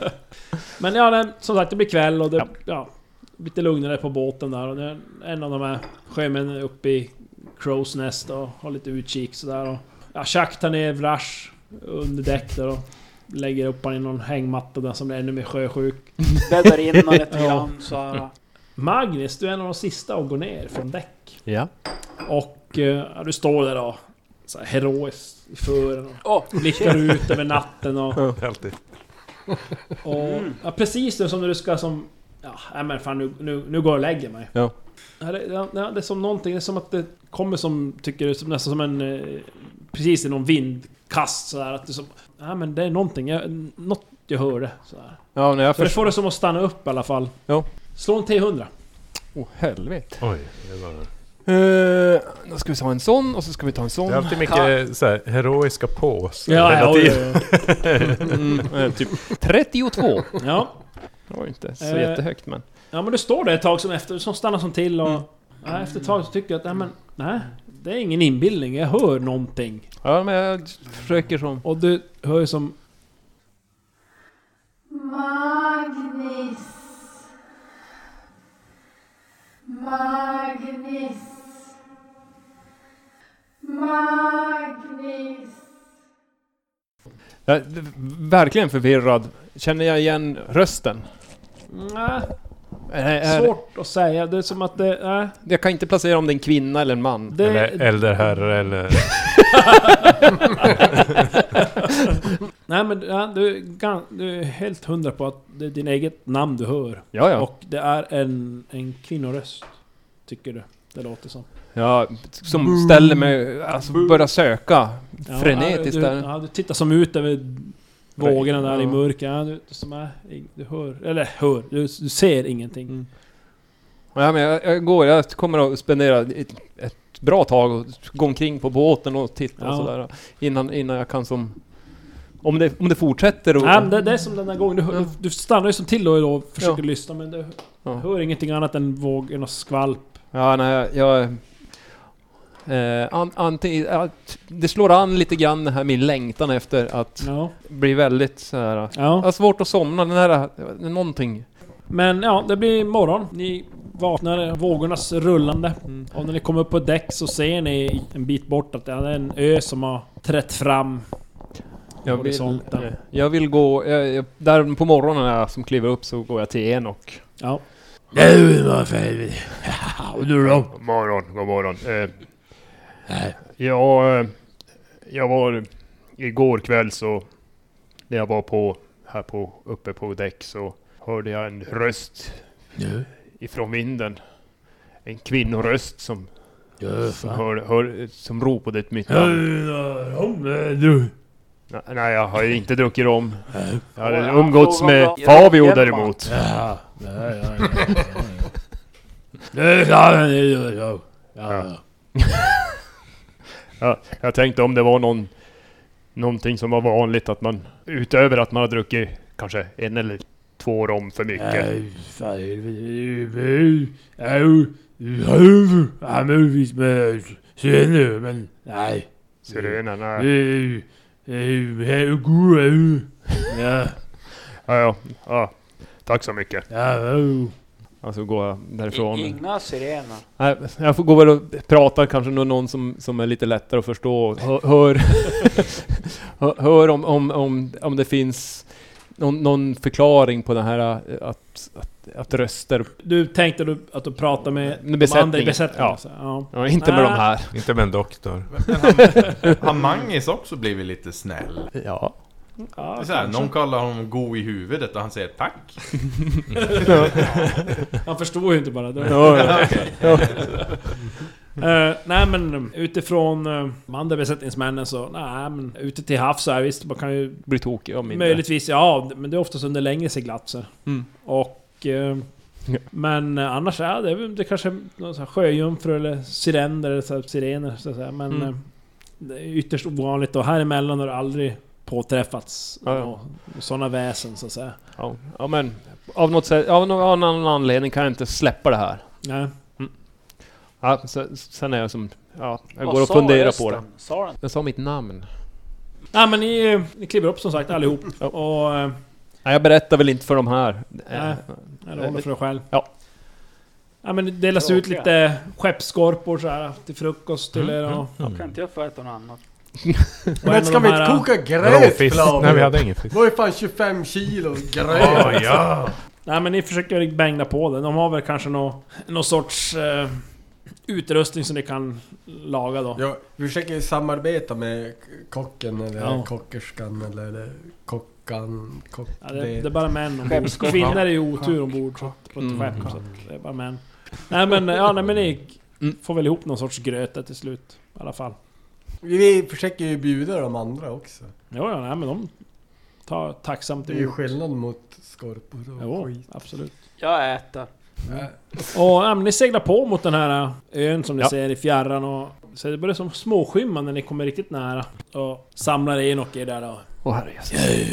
S3: Men ja, det, som sagt det blir kväll och det... Ja. lite lugnare på båten där och det är en av de här sjömännen är uppe i Crows Nest och har lite utkik sådär och... Ja, Chuck tar ner Vrash under däck där och lägger upp han i någon hängmatta där som är ännu mer sjösjuk.
S9: Bäddar in honom lite
S3: Ja.
S9: grann så här.
S3: Magnus, du är en av de sista att gå ner från däck.
S8: ja.
S3: Och eh, ja, du står där då, så här heroiskt i fören och
S9: Åh,
S3: blickar ut över natten och...
S4: Alltid.
S3: och ja, precis nu som när du ska som... Ja, nej men fan nu, nu, nu går jag och lägger mig.
S8: Ja.
S3: Ja, det, ja, ja, det är som någonting, det är som att det kommer som, tycker du, som, nästan som en... Eh, precis i någon vindkast sådär. Att du som... Ja men det är någonting, jag, något jag hörde. Sådär.
S8: Ja, när jag
S3: Så det
S8: först...
S3: får det som att stanna upp i alla fall.
S8: Ja.
S3: Slå en T100.
S8: Åh helvete.
S4: Oj, det var...
S8: Eh, då ska vi ta en sån och så ska vi ta en sån.
S4: Det är alltid mycket så här, heroiska påsar.
S3: Ja, ja,
S4: hela
S3: oj,
S4: tiden.
S3: oj, oj.
S8: Mm, eh, typ 32.
S3: ja.
S8: Det var ju inte så
S3: Eh.
S8: jättehögt men...
S3: Ja men du står där ett tag som efter, som stannar som till och... Ja, efter ett tag så tycker jag att, nej men... Nej, det är ingen inbildning. Jag hör någonting.
S8: Ja, men jag försöker som...
S3: Och du hör ju som...
S11: Magnus. Magnus. Magnus.
S8: Jag är verkligen förvirrad. Känner jag igen rösten?
S3: Nej,
S8: Är, är,
S3: svårt att säga. Det är som att det... Nej,
S8: jag kan inte placera om det är en kvinna eller en man.
S3: det...
S4: Eller äldre herre eller...
S3: Nej men ja, du, är gan- du är helt hundra på att det är din eget namn du hör.
S8: Ja, ja.
S3: Och det är en, en kvinnoröst. Tycker du. Det låter som.
S8: ja som ställer mig... Alltså börjar söka
S3: Ja,
S8: frenetiskt
S3: du,
S8: där.
S3: ja, du tittar som ut över vågorna där i
S8: Ja.
S3: mörker. Ja, du, som är, du hör... Eller hör. Du, du ser ingenting.
S8: Mm. Ja, men jag, jag går. Jag kommer att spendera ett, ett bra tag och gå omkring på båten och titta och
S3: Ja.
S8: sådär. Innan, innan jag kan som... Om det, om det fortsätter och...
S3: Nej, men det, det är som den där gången, du, hör- du stannar ju som till då och då och försöker
S8: Ja.
S3: lyssna men du
S8: Ja.
S3: hör ingenting annat än vågen och skvalp.
S8: Ja, nej, jag... Eh, an, anting, att det slår an lite grann det här min längtan efter att
S3: Ja.
S8: bli väldigt så här. Jag
S3: ja.
S8: har svårt att somna, den här... Någonting.
S3: Men ja, det blir morgon. Ni vaknar, vågornas rullande.
S8: Mm.
S3: Och när ni kommer upp på däck så ser ni en bit bort att det är en ö som har trätt fram.
S8: Jag vill,
S3: Horisonten.
S8: eh, jag vill gå... Jag, jag, där på morgonen när jag som kliver upp så går jag till en och...
S3: Ja.
S5: Nu var färdig. Och du då?
S7: God morgon, god morgon. Eh, jag, eh, jag var... Igår kväll så... När jag var på, här på, uppe på däck så hörde jag en röst
S5: Nu?
S8: ifrån vinden. En kvinnoröst som,
S5: Ja,
S8: som,
S5: fan.
S8: hör, hör, som ropade ett mitt namn.
S5: Rom, du.
S8: Nej, Nej, jag har ju inte druckit rom. Jag hade
S5: Ja,
S8: umgåtts
S5: fråga
S8: med
S5: bra.
S8: Fabio
S5: Hjälp,
S8: däremot.
S5: Ja, ja, ja, ja, ja, Det är klart, det är jag, jag.
S8: Ja. ja, jag tänkte om det var någon, någonting som var vanligt att man utöver att man har druckit kanske en eller två rom för mycket.
S5: Nej, fan, helvete. Au, au, ja, möjligtvis med senare, men nej.
S8: Sirena, nej.
S5: nej. Här och god, au. Ja,
S8: Ja, ja, ja. Tack så mycket.
S5: ja, au.
S8: Alltså går jag därifrån.
S9: Inga sirener.
S8: Nej, jag får gå väl och prata kanske med någon som, som är lite lättare att förstå. och Hör, hör, (laughs) hör- hör om, om, om, om det finns någon, någon förklaring på det här eh, att, att, att röster...
S3: Du tänkte du att du pratade med
S8: Med
S3: de andra i
S8: besättningen.
S3: besättningen?
S8: Ja.
S3: så, ja.
S8: Ja, inte med
S3: Nej.
S8: de här.
S4: Inte med en doktor.
S10: Men har- Har Mangis också blivit lite snäll?
S8: Ja.
S10: Det
S3: Ja,
S10: är så här,
S3: kanske.
S10: någon kallar honom go i huvudet och han säger tack.
S3: Han förstår ju inte bara det.
S8: Ja, ja.
S3: Eh, nej men um, utifrån uh, de andra besättningsmännen så, nej men ute till havs så här, visst man kan ju
S8: Blir tokig om inte...
S3: möjligtvis, ja men det är oftast under längre seglatser.
S8: Mm.
S3: Och... eh,
S8: Ja.
S3: Men eh, annars är det, väl- det kanske är någon sån här sjöjungfru eller sirener eller så här, sirener så att säga. Men
S8: Mm.
S3: eh, det är ytterst ovanligt och här emellan har det aldrig påträffats
S8: Ja, ja.
S3: sådana väsen så att säga.
S8: Ja, ja, men av något sätt, av någon av någon annan anledning kan jag inte släppa det här.
S3: Nej.
S8: Ja, sen, sen är jag som... Ja, jag
S9: Vad
S8: går och
S9: sa
S8: funderar på det.
S9: resten? Sa den?
S12: Jag sa mitt namn.
S3: Nej men ni, eh, ni kliver upp som sagt allihop.
S8: Ja.
S3: Och... eh,
S8: Nej, jag berättar väl inte för de här. Eh,
S3: Nej. Eller håller för dig själv.
S8: Ja.
S3: Ja men det delas ut
S9: Tråkiga.
S3: lite skeppsskorpor så här till frukost
S8: Mm.
S3: till er och...
S9: Kan inte jag få äta något annat?
S3: och en
S6: Men ska
S3: av
S6: vi
S3: de
S6: inte
S3: här-
S6: koka
S4: Råfisk.
S6: gröt
S4: Nej, vi
S6: Flavio?
S4: hade ingen fisk.
S6: Det var ju fan 25 kilo gröt!
S4: Åh ja!
S3: Nej men ni försöker väl bängna på det. De har väl kanske nå någon sorts eh, utrustning som ni kan laga då.
S6: Ja, vi försöker ju samarbeta med kocken eller
S3: Ja.
S6: kockerskan eller, eller kockan, kock...
S3: Ja, det, det är bara män ombord.
S9: Skeppskorpor.
S3: Kvinnor är ju otur ombord så- på ett
S8: Mm.
S3: skepp. Så att det är bara män. Nej men, ja, nej, men ni
S6: Mm.
S3: får väl ihop någon sorts gröt där till slut. I alla fall.
S6: Vi försöker ju bjuda de andra också.
S3: Jo, ja, nej, men de tar tacksamt
S6: Det är ju
S3: emot.
S6: skillnad mot skorpor och
S3: Mm. Jo,
S6: skit.
S3: absolut.
S9: Jag äter.
S6: Äh,
S3: Och ja, men ni seglar på mot den här eh, ön som ni
S8: Ja.
S3: ser i fjärran och... Så det börjar som småskymma när ni kommer riktigt nära. Och samlar in och er där då.
S8: Åh herrejösses.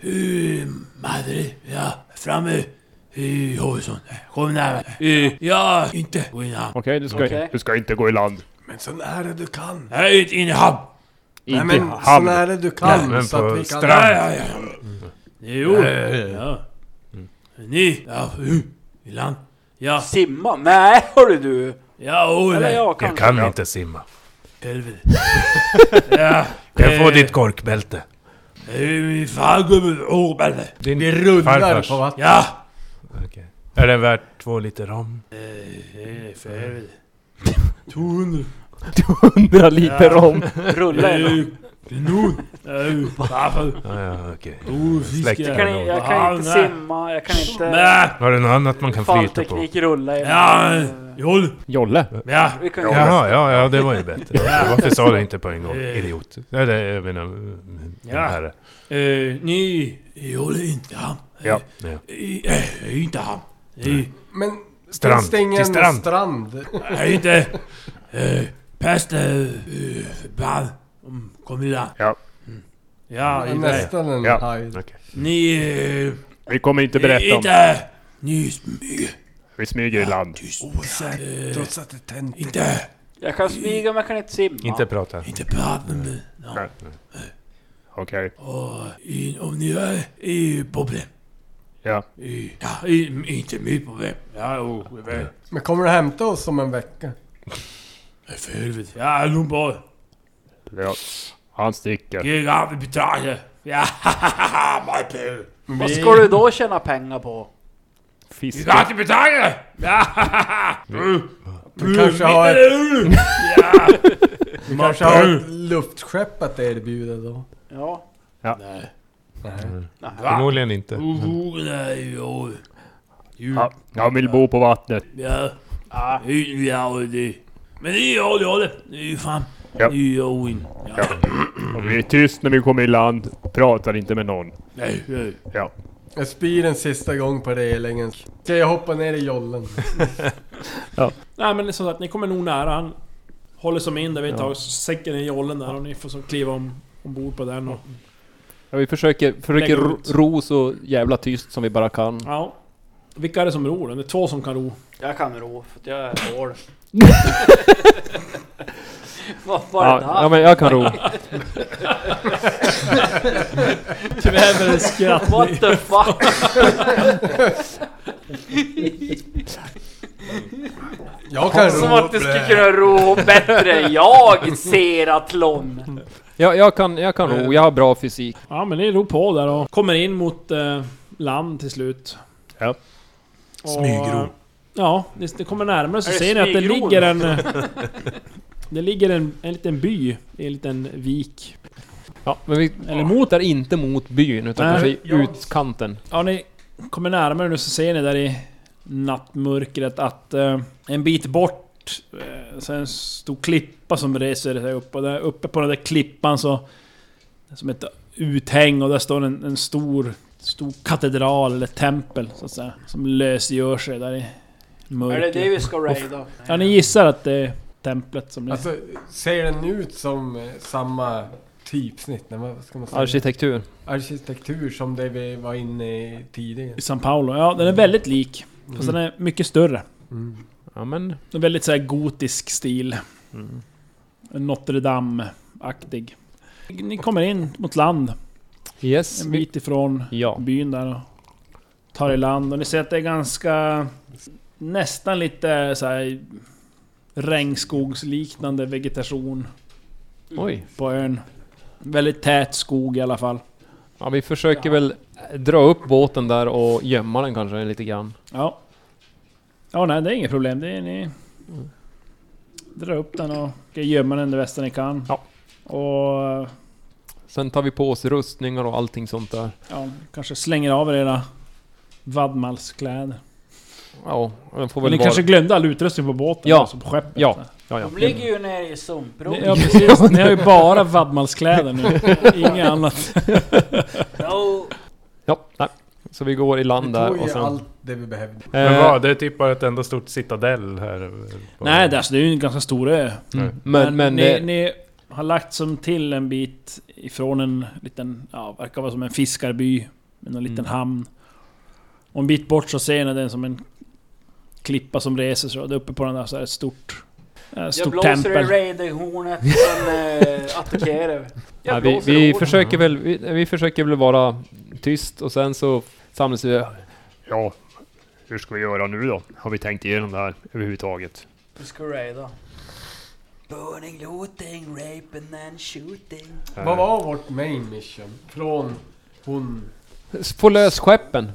S5: Eh, Madre, ja, framme i horisont. Kom närmare. Eh, Ja, inte gå in i hamn.
S8: Okej, du, ska-
S9: Okej.
S8: du ska inte gå i land.
S6: men så nära du kan!
S5: Nej, inte in i hamn.
S6: Nej
S8: inte i
S6: men så
S8: hamn.
S6: nära du kan
S4: men
S6: så
S4: på
S6: att vi kan...
S5: Ja, ja, ja. Jo.
S10: Eh,
S5: Ja. Ni, ja, uh, i land. Ja,
S9: Simma? Nej hörru du!
S5: ja, oh,
S9: Eller
S5: nej.
S9: jag
S4: Jag
S9: kanske?
S4: kan inte simma.
S5: Helvete. Ja.
S4: Jag får
S5: eh,
S4: ditt korkbälte.
S5: eh, Min fargubbe, åh, helvete.
S4: Din
S6: Vi rullar
S4: farfars.
S6: på vattnet.
S5: Ja.
S4: Okej. Är det värt två liter rom?
S5: Eh, För helvete. 200.
S8: 100 liter rom.
S3: (laughs)
S9: Rulla en.
S5: Eh, Kanon. Eh, Varför?
S4: Ja, ja, okej.
S5: Oh,
S4: Släkt
S5: fiskar.
S9: Jag kan, jag kan inte simma, jag kan inte...
S5: Nej.
S4: Har du något annat man kan flyta på?
S9: Fallteknik rulla i
S5: Ja, jo.
S8: (laughs) Jolle.
S5: Ja.
S9: Vi kan göra
S4: Jaha, ja, ja, det var ju bättre. Varför sa du inte på en gång? Idiot. Nej, det, jag menar... mm,
S5: Ja.
S4: Herre.
S5: Eh, ni, jag håller inte hamn.
S8: Ja.
S4: Ja.
S5: I, eh, inte hamn. I,
S6: Men...
S4: Strand.
S6: Finns det ingen
S4: Till strand.
S6: strand? strand?
S5: nej, (laughs) inte. Eh, pest, eh, förband. Mm, Kom i land.
S8: Ja.
S5: Ja,
S6: Ja,
S5: inte.
S6: Nästan en
S8: Ja.
S6: haj.
S5: Ni,
S8: Vi kommer inte
S5: eh,
S8: berätta om...
S5: inte. Ni smyger.
S8: Vi smyger i land.
S5: Osett. Eh,
S6: Trots att det tänt.
S5: inte,
S9: Jag kan smyga men jag kan inte simma.
S4: Inte prata.
S5: inte prata med mig. No.
S8: Nej. Okej.
S5: Och i, om ni är i problem.
S8: Ja.
S5: I, ja, i, inte mitt problem. Ja, jo, jag vet.
S6: Men kommer du hämta oss om en vecka?
S5: För helvete. Ja, nog bra.
S8: ja. Han sticker.
S5: Ge av i betraktare. Ja, my pill.
S9: Vad ska du då tjäna pengar på?
S5: Ge
S8: Fiskar.
S5: av i betraktare. Ja, Mm.
S6: Vi kanske
S5: Mm.
S6: har,
S9: (laughs)
S5: Mm. Ja.
S6: vi kanske har ett luftskepp att erbjuda då?
S9: Ja.
S5: Nej.
S6: Nej.
S4: Förmodligen inte.
S5: Oron är i år.
S7: Ja, jag vill bo på vattnet.
S5: Ja.
S9: Ah.
S5: Ja. Ja, och det. Men det är jag, det är det. Det är ju fan. Det
S7: Ja.
S5: är ju Owen. Ja.
S7: Och vi är tyst när vi kommer i land. Pratar inte med någon.
S5: Nej, nej.
S7: Ja.
S6: Jag spyr en sista gång på relingen. Ska jag hoppa ner i jollen?
S3: Nej men som sagt, ni kommer nog nära. Han håller som in där vid ett tag, så sänker ner jollen där och ni får som kliva om, ombord på den och...
S8: Ja, vi försöker, försöker
S3: Lägg
S8: ro,
S3: ut.
S8: ro så jävla tyst som vi bara kan.
S3: Ja. Vilka är det som ror då? Det är två som kan ro.
S9: Jag kan ro, för att jag är hård. (laughs) Vad var det
S8: Ja,
S9: där?
S8: ja men jag kan ro.
S3: Tyvärr (laughs) med en skratt.
S9: What the fuck?
S6: Jag kan
S9: Som
S6: ro
S9: att
S6: upp
S9: du
S6: det
S9: skulle
S6: här.
S9: kunna ro bättre. Jag ser atlon.
S8: Jag, jag, kan, jag kan ro, jag har bra fysik.
S3: Ja men ni ror på där och kommer in mot eh, land till slut.
S7: Ja.
S3: Och,
S4: Smygro.
S3: eh, Ja, ni ni kommer närmare så
S9: Är det
S3: ser ni att det
S9: smygror?
S3: ligger en... eh, (laughs) Det ligger en, en liten by i en liten vik.
S8: Ja, men vi
S3: Eller
S8: motar inte mot byn utan
S3: Nej.
S8: kanske i utkanten.
S3: Ja, ni kommer närmare nu så ser ni där i nattmörkret att eh, en bit bort eh, så är en stor klippa som reser sig upp och där uppe på den där klippan så... Som ett uthäng och där står en, en stor, stor katedral eller tempel så att säga. Som lösgör sig där i
S9: Är det
S3: mörkret.
S9: det vi ska raida?
S3: Ja, ni gissar att det är templet som ni...
S6: Alltså, ser den ut som eh, samma typsnitt? Nej, vad ska man säga?
S8: Arkitektur.
S6: Arkitektur som det vi var inne i tidigare.
S3: I São Paulo. Ja,
S8: Mm.
S3: den är väldigt lik. Fast den är mycket större.
S8: Ja, men Mm.
S3: En väldigt så här gotisk stil. En Notre Dame-aktig. Ni kommer in mot land,
S8: yes.
S3: en
S8: Vi,
S3: bit ifrån
S8: ja.
S3: byn där och tar i land. Och ni ser att det är ganska... Nästan lite så här regnskogsliknande vegetation
S8: Oj.
S3: på ön. Väldigt tät skog i alla fall.
S8: Ja, vi försöker väl dra upp båten där och gömma den kanske lite grann.
S3: Ja. Ja, nej, det är inget problem. Det är ni... Dra upp den och gömma den det bästa ni kan.
S8: Ja.
S3: Och
S8: Sen tar vi på oss rustningar och allting sånt där.
S3: Ja, kanske slänger av er era vadmalskläder.
S8: Ja, den får
S3: Men
S8: väl
S3: ni
S8: vara...
S3: kanske glömde all utrustning på båten?
S8: Ja.
S3: Alltså på skeppet?
S8: Ja, ja,
S9: De
S8: ja.
S9: ligger ju nere i sumpbron.
S3: Ni, ja precis,
S8: (laughs)
S3: ni har ju bara vadmalskläder nu. Inget annat.
S9: No.
S8: ja nej. Så vi går i
S6: Vi
S8: land
S6: tog
S8: där
S6: ju
S8: och sen...
S6: allt det vi behövde.
S4: Men
S8: Eh,
S4: vad, det är typ bara ett enda stort citadell här. på-
S3: Nej, det, är alltså, det är ju en ganska stor ö.
S8: mm, men, men...
S3: ni,
S8: eh,
S3: ni har lagt som till en bit ifrån en liten, ja, verkar vara som en fiskarby. Med en liten
S8: Mm.
S3: hamn. Och en bit bort så ser ni den som en klippa som reser sig. Och där uppe på den där så är det ett stort... Ett
S9: Jag
S3: stort
S9: blåser i
S3: tempel.
S9: raiderhornet, sen eh, attackerar vi. Jag
S8: Ja, vi,
S9: blåser i
S8: vi
S9: hornet.
S8: försöker väl, vi, vi försöker väl vara tyst och sen så samlas vi.
S7: Ja. Hur ska vi göra nu då? Har vi tänkt igenom det här överhuvudtaget?
S9: Vi ska raida. Burning, looting, raping and shooting.
S6: Vad var vårt main mission? Från hon...
S8: Få lös skeppen!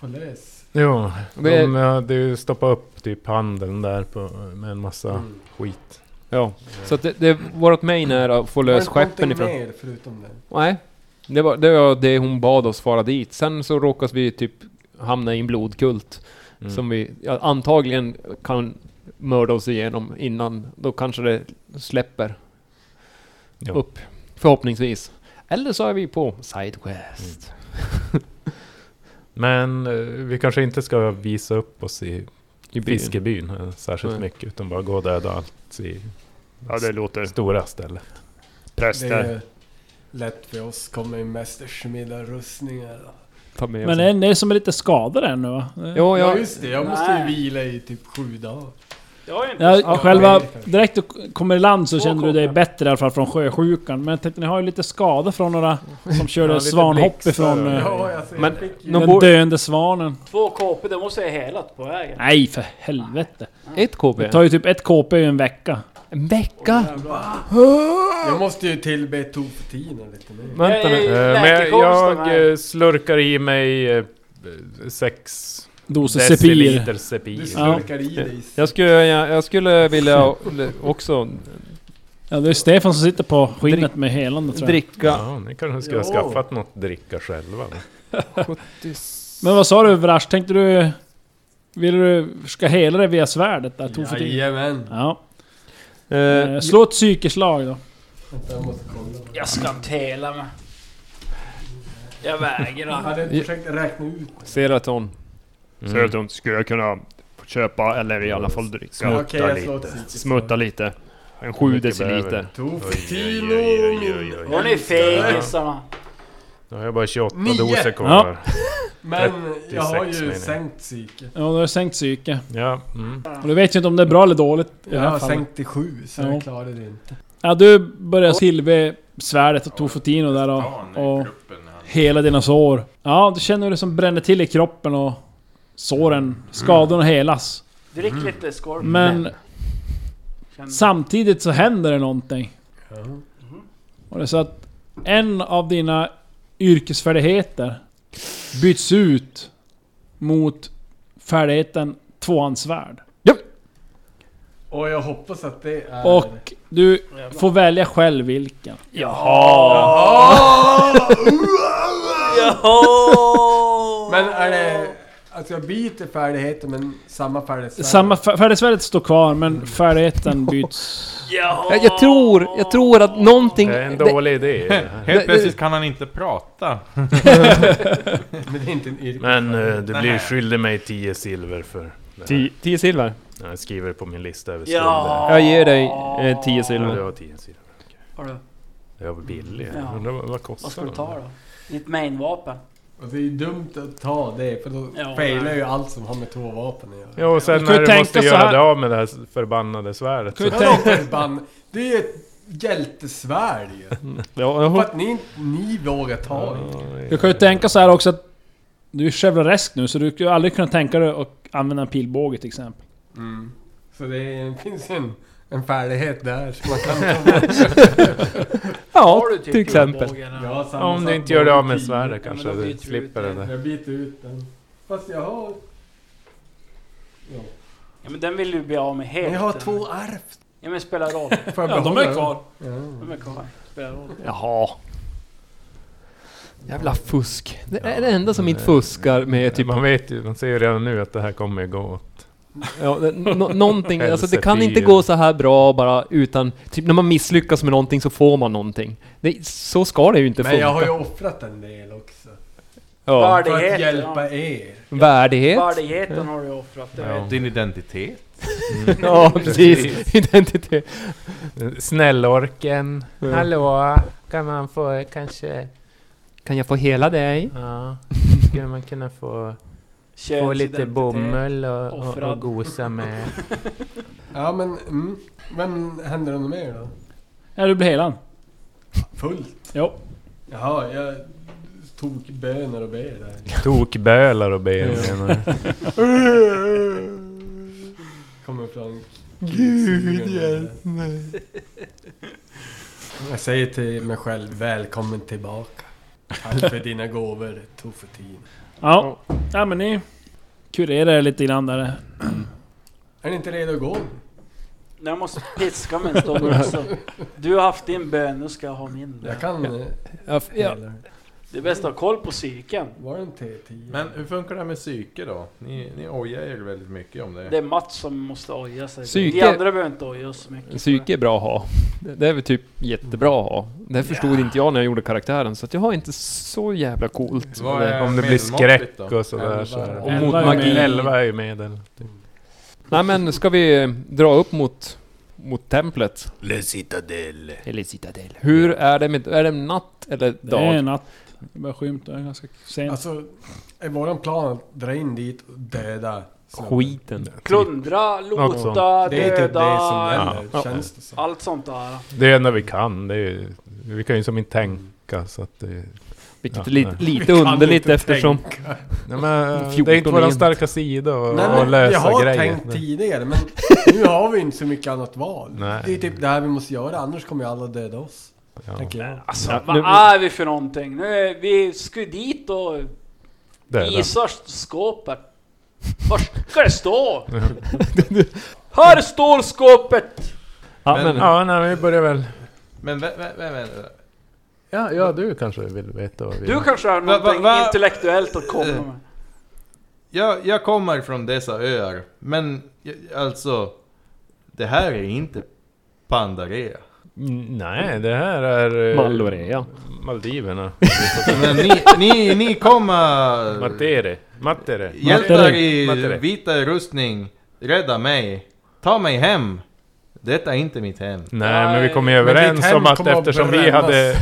S6: Förlös.
S4: Jo,
S8: Det-
S4: de hade ju stoppat upp typ handeln där på, med en massa
S6: Mm.
S4: skit.
S8: Ja, så att det, det, vårt main är att få lös
S6: Var det någonting
S8: skeppen ifrån...
S6: mer förutom den?
S8: Nej. Det var, det var det hon bad oss fara dit. Sen så råkas vi typ hamna i en blodkult.
S4: Mm.
S8: Som vi ja, antagligen kan mörda oss igenom innan. Då kanske det släpper.
S4: Ja.
S8: Upp. Förhoppningsvis. Eller så är vi på Side West.
S4: Men eh, vi kanske inte ska visa upp oss i
S8: I byn.
S4: fiskebyn eh, särskilt
S8: Nej.
S4: mycket. Utan bara gå och döda allt i
S7: Ja, det låter...
S4: stora stället.
S6: Det
S7: Präster.
S6: är ju lätt för oss, kommer i mästersmiddag, rustningar.
S8: Ta med
S3: Men
S8: oss.
S3: är ni som är lite skadade ännu va?
S8: Jo,
S6: Ja,
S8: jag,
S6: just det, jag måste ju
S9: Nej.
S6: vila i typ sju dagar.
S9: Jag är inte
S3: Ja,
S9: skadad.
S3: själva...
S6: nej.
S3: Direkt du k- kommer i land så
S9: Två
S3: känner du dig
S9: kockar.
S3: bättre i alla fall från sjösjukan. Men jag tänkte ni har ju lite skada från några som körde
S4: lite
S3: svanhopp
S4: blixtar
S3: ifrån
S4: och-
S3: eh,
S6: Ja, alltså, jag
S8: Men-
S6: fick ju...
S8: Nå-
S3: den
S8: bor-
S3: döende svanen.
S9: Två KP, det måste jag ha helat på vägen.
S3: Nej för helvete.
S8: ett
S3: Det
S8: KB.
S3: tar ju typ ett KP i en vecka.
S8: En vecka?
S6: Jag måste ju tillbe Toftina lite mer.
S8: Vänta
S9: Jag är
S8: nu.
S4: Eh, Men
S9: läkekonsten
S4: jag,
S9: här.
S4: jag eh, slurkar i mig eh, sex
S3: Doser
S4: deciliter
S3: Sepir.
S6: Du
S4: sepir.
S6: slurkar i dig.
S8: Jag skulle, jag, jag
S13: (laughs)
S8: skulle vilja också
S3: Ja, det är Stefan som sitter på skinnet med helande tror jag.
S8: dricka
S4: Ja, ni kanske skulle ha
S6: Jo.
S4: skaffat något dricka själva.
S3: Men vad sa du Vrash? Tänkte du... Vill du ska hela dig via svärdet där? Tog för din.
S6: Jajamän.
S3: Ja.
S8: Eh,
S3: Eh, Slå ett psykeslag då.
S9: Jag ska inte hela mig. Jag vägrar.
S6: hade försökt räkna ut.
S8: Seraton.
S4: Mm.
S13: Södertunt skulle jag kunna köpa eller i alla fall dricka.
S6: Okej,
S13: Smutta,
S6: jag slår ett psykiskt
S13: Smutta lite. En sju deciliter.
S6: Toff
S4: Oj, oj, oj,
S9: Hon
S4: oj.
S9: är fegisarna.
S4: Då har jag bara 28
S6: Nio.
S4: doser kvar.
S3: Ja.
S4: här.
S6: Men jag har ju
S4: menar jag.
S6: sänkt psyke.
S3: Ja, du har sänkt psyke.
S4: Ja. Mm.
S3: Och du vet ju inte om det är bra eller dåligt i det
S6: Jag
S3: här
S6: har
S3: fallet.
S6: sänkt till sju, så
S3: Ja.
S6: jag klarade det inte.
S3: Ja, du börjar silve svärdet och Tofotino där och, och hela dina sår. Ja, du känner hur det som bränner till i kroppen och såren, skadorna helas.
S9: Drick lite skål.
S3: Men samtidigt så händer det någonting. Och det är så att en av dina yrkesfärdigheter byts ut mot färdigheten tvåhandsvärd.
S6: Och jag hoppas att det är...
S3: Och du får välja själv vilken.
S9: Jaha!
S6: Men är det... Alltså jag byter färdigheter men samma färdighet?
S3: Samma fär- färdighetsvärdet står kvar men färdigheten byts.
S9: Jaha!
S8: Jag, jag tror, jag tror att någonting...
S4: Det är en dålig (laughs) idé.
S10: Helt plötsligt kan han inte prata.
S6: Men det är inte en yrke.
S4: Men eh, du blir skyldig mig 10 silver för det här.
S8: Ti- Tio silver.
S4: Jag skriver på min lista över skulder.
S9: Ja.
S8: Jag ger dig eh, tio
S4: Ja, du
S8: silver.
S4: har 10 silver.
S9: Har du-
S4: Det var billigt.
S9: Ja.
S4: Undrar vad, vad kostar
S9: Vad ska du ta då? Ditt mainvapen?
S6: Och Alltså, det är ju dumt att ta det för då
S9: Ja,
S6: failar
S9: nej.
S6: ju allt som har med tvåvapen att göra.
S4: Ja, och sen
S3: Du kan ju
S4: när du
S3: tänka
S4: måste
S3: så
S4: göra
S3: här-
S4: dig av med det här förbannade svärdet.
S3: Kan
S4: Så.
S3: ju
S6: Vadå
S3: tänka-
S6: förband? Det är ju ett hjältesvärd ju.
S8: Ja, jag
S6: För
S8: hop-
S6: att ni, ni vågar ta det.
S3: Du kan ju tänka så här också att du är chevaleresk nu så du skulle aldrig kunna tänka dig att använda en pilbåge till exempel.
S6: Mm. Så det är, finns en, en färdighet där som man kan
S4: (laughs)
S6: ta bort.
S8: ja,
S9: Har du typ
S8: till exempel.
S9: pilbågen eller?
S6: Ja, samma
S4: Om du
S6: sak
S4: inte gör dig av med
S6: tio.
S4: svärdet
S9: Ja, men
S4: kanske
S9: då byter
S4: du
S9: vi
S4: slipper
S9: ut
S4: det
S9: det.
S4: där.
S6: Jag byter ut den. Fast jag har... Ja.
S9: Ja, men den vill du bli av med helt.
S6: Men jag har två arv.
S9: Ja men
S6: (laughs)
S9: spelar roll.
S6: Får jag
S3: Ja, de
S6: behålla
S3: är
S6: dem?
S3: kvar.
S9: De är kvar. Spelar roll.
S8: Jaha. Jävla fusk. Det är det enda som inte fuskar med
S4: Typ,
S8: typ...
S4: man vet ju, man ser ju redan nu att det här kommer ju gå.
S8: Ja, det-
S9: (laughs)
S8: nå- någonting, alltså det kan
S4: Hälsefyr.
S8: inte gå så här bra bara utan... Typ när man misslyckas med någonting så får man någonting. Det, så ska det ju inte
S6: Men jag har ju
S8: funka.
S6: offrat en del också.
S8: Ja.
S6: För att
S9: Värdigheten,
S6: hjälpa er.
S8: Värdighet.
S9: Värdigheten har du offrat. Det vet
S10: Din identitet.
S8: (laughs) Ja, precis. Identitet.
S4: Snällorken. Hallå, kan man få kanske...
S8: Kan jag få hela dig? (laughs)
S4: Ja, skulle man kunna få,
S9: jag. Könsidentitet.
S4: och,
S9: och- och Offrad.
S4: gosa med?
S6: Ja men, mm. Vem händer det något mer då?
S3: Ja, du blir helan.
S6: Fullt?
S3: Jo.
S6: Jaha, jag tog böner och ber där.
S4: Tokbölar och ben menar jag.
S6: Kommer från... Gud hjälp mig. (laughs) Jag säger till mig själv, välkommen tillbaka. Tack för dina gåvor, Toffutin.
S3: Ja. ja, men ni kurerar er lite grann där.
S6: Är ni inte redo att gå?
S9: Nej, Jag måste piska mig en stund också. Du har haft din bön, nu ska jag ha min bön.
S6: Jag kan... eh,
S8: Ja, f- ja.
S6: eller-
S9: Det är bäst att ha koll på psyken.
S6: Var det en T10?
S10: Men hur funkar det här med psyke då? Ni, ni ojar er väldigt mycket om det.
S9: Det är Mats som måste oja sig.
S8: Psyke-
S9: Vi andra behöver inte oja oss så mycket.
S8: Psyke är bra att ha. Det det är väl typ jättebra att ha. Det förstod inte jag när jag gjorde karaktären, så att jag har inte så jävla coolt.
S10: Vad är
S4: Om det blir
S10: medelmåttigt
S4: skräck
S10: då?
S4: och sådär så...
S6: Elva.
S4: Och
S3: Elva
S4: mot
S3: är
S4: magi.
S3: medel.
S4: Elva är ju medel.
S8: Nej men, ska vi dra upp mot, mot templet?
S4: Le Citadelle.
S8: Eller citadel. Hur är det med... Är det natt eller
S3: Det är
S8: dag?
S3: en natt. Det börjar skymta, det är ganska sent.
S6: Alltså, är våran plan att dra in dit och döda snubben?
S8: Skiten.
S9: Plundra,
S4: Något sånt.
S9: lota,
S6: Det är typ det som
S9: döda.
S6: händer, känns det som.
S9: Allt sånt där.
S4: Det är det enda vi kan. Det är, ju- vi kan ju som inte tänka så att det...
S8: Vilket
S4: Ja,
S8: är li,
S4: nej.
S8: lite underligt eftersom...
S4: Nej, men, eh, det är inte
S8: 14
S4: våran
S8: igen.
S4: starka sida och,
S6: Nej,
S4: och
S6: men
S4: lösa
S6: jag har
S4: grejer.
S6: tänkt tidigare men nu har vi inte så mycket annat val.
S4: Nej.
S6: Det är typ det här vi måste göra, annars kommer ju alla döda oss.
S4: Ja.
S6: Tänker jag.
S9: Alltså,
S8: Ja,
S9: vad
S8: nu-
S9: är vi för någonting? Nu är, vi ska ju dit och
S4: Det är det.
S9: visar skåpet. Var ska det stå? Här står skåpet!
S8: Ja,
S10: Men-
S8: men,
S4: Ja, nej, vi börjar väl...
S10: Men vem, vem, vem är det?
S4: Ja, ja, du kanske vill veta vad vi...
S9: Du kanske har
S10: Va- va-
S9: någonting
S10: va-
S9: intellektuellt att komma med.
S10: jag, jag kommer från dessa öar, men jag- alltså... Det här är inte Pandarea.
S4: Mm, Nej, det här är... eh,
S10: Mallorea.
S4: Maldiverna.
S10: Men ni, ni, ni kommer...
S4: Matere. Matere.
S10: Hjältar i
S4: Matere.
S10: vita rustning, rädda mig, ta mig hem. Detta är inte mitt hem.
S4: Nej, men vi kom ju
S10: Men ditt
S4: överens
S10: hem
S4: om att
S10: kommer
S4: eftersom vi
S10: brännas.
S4: hade...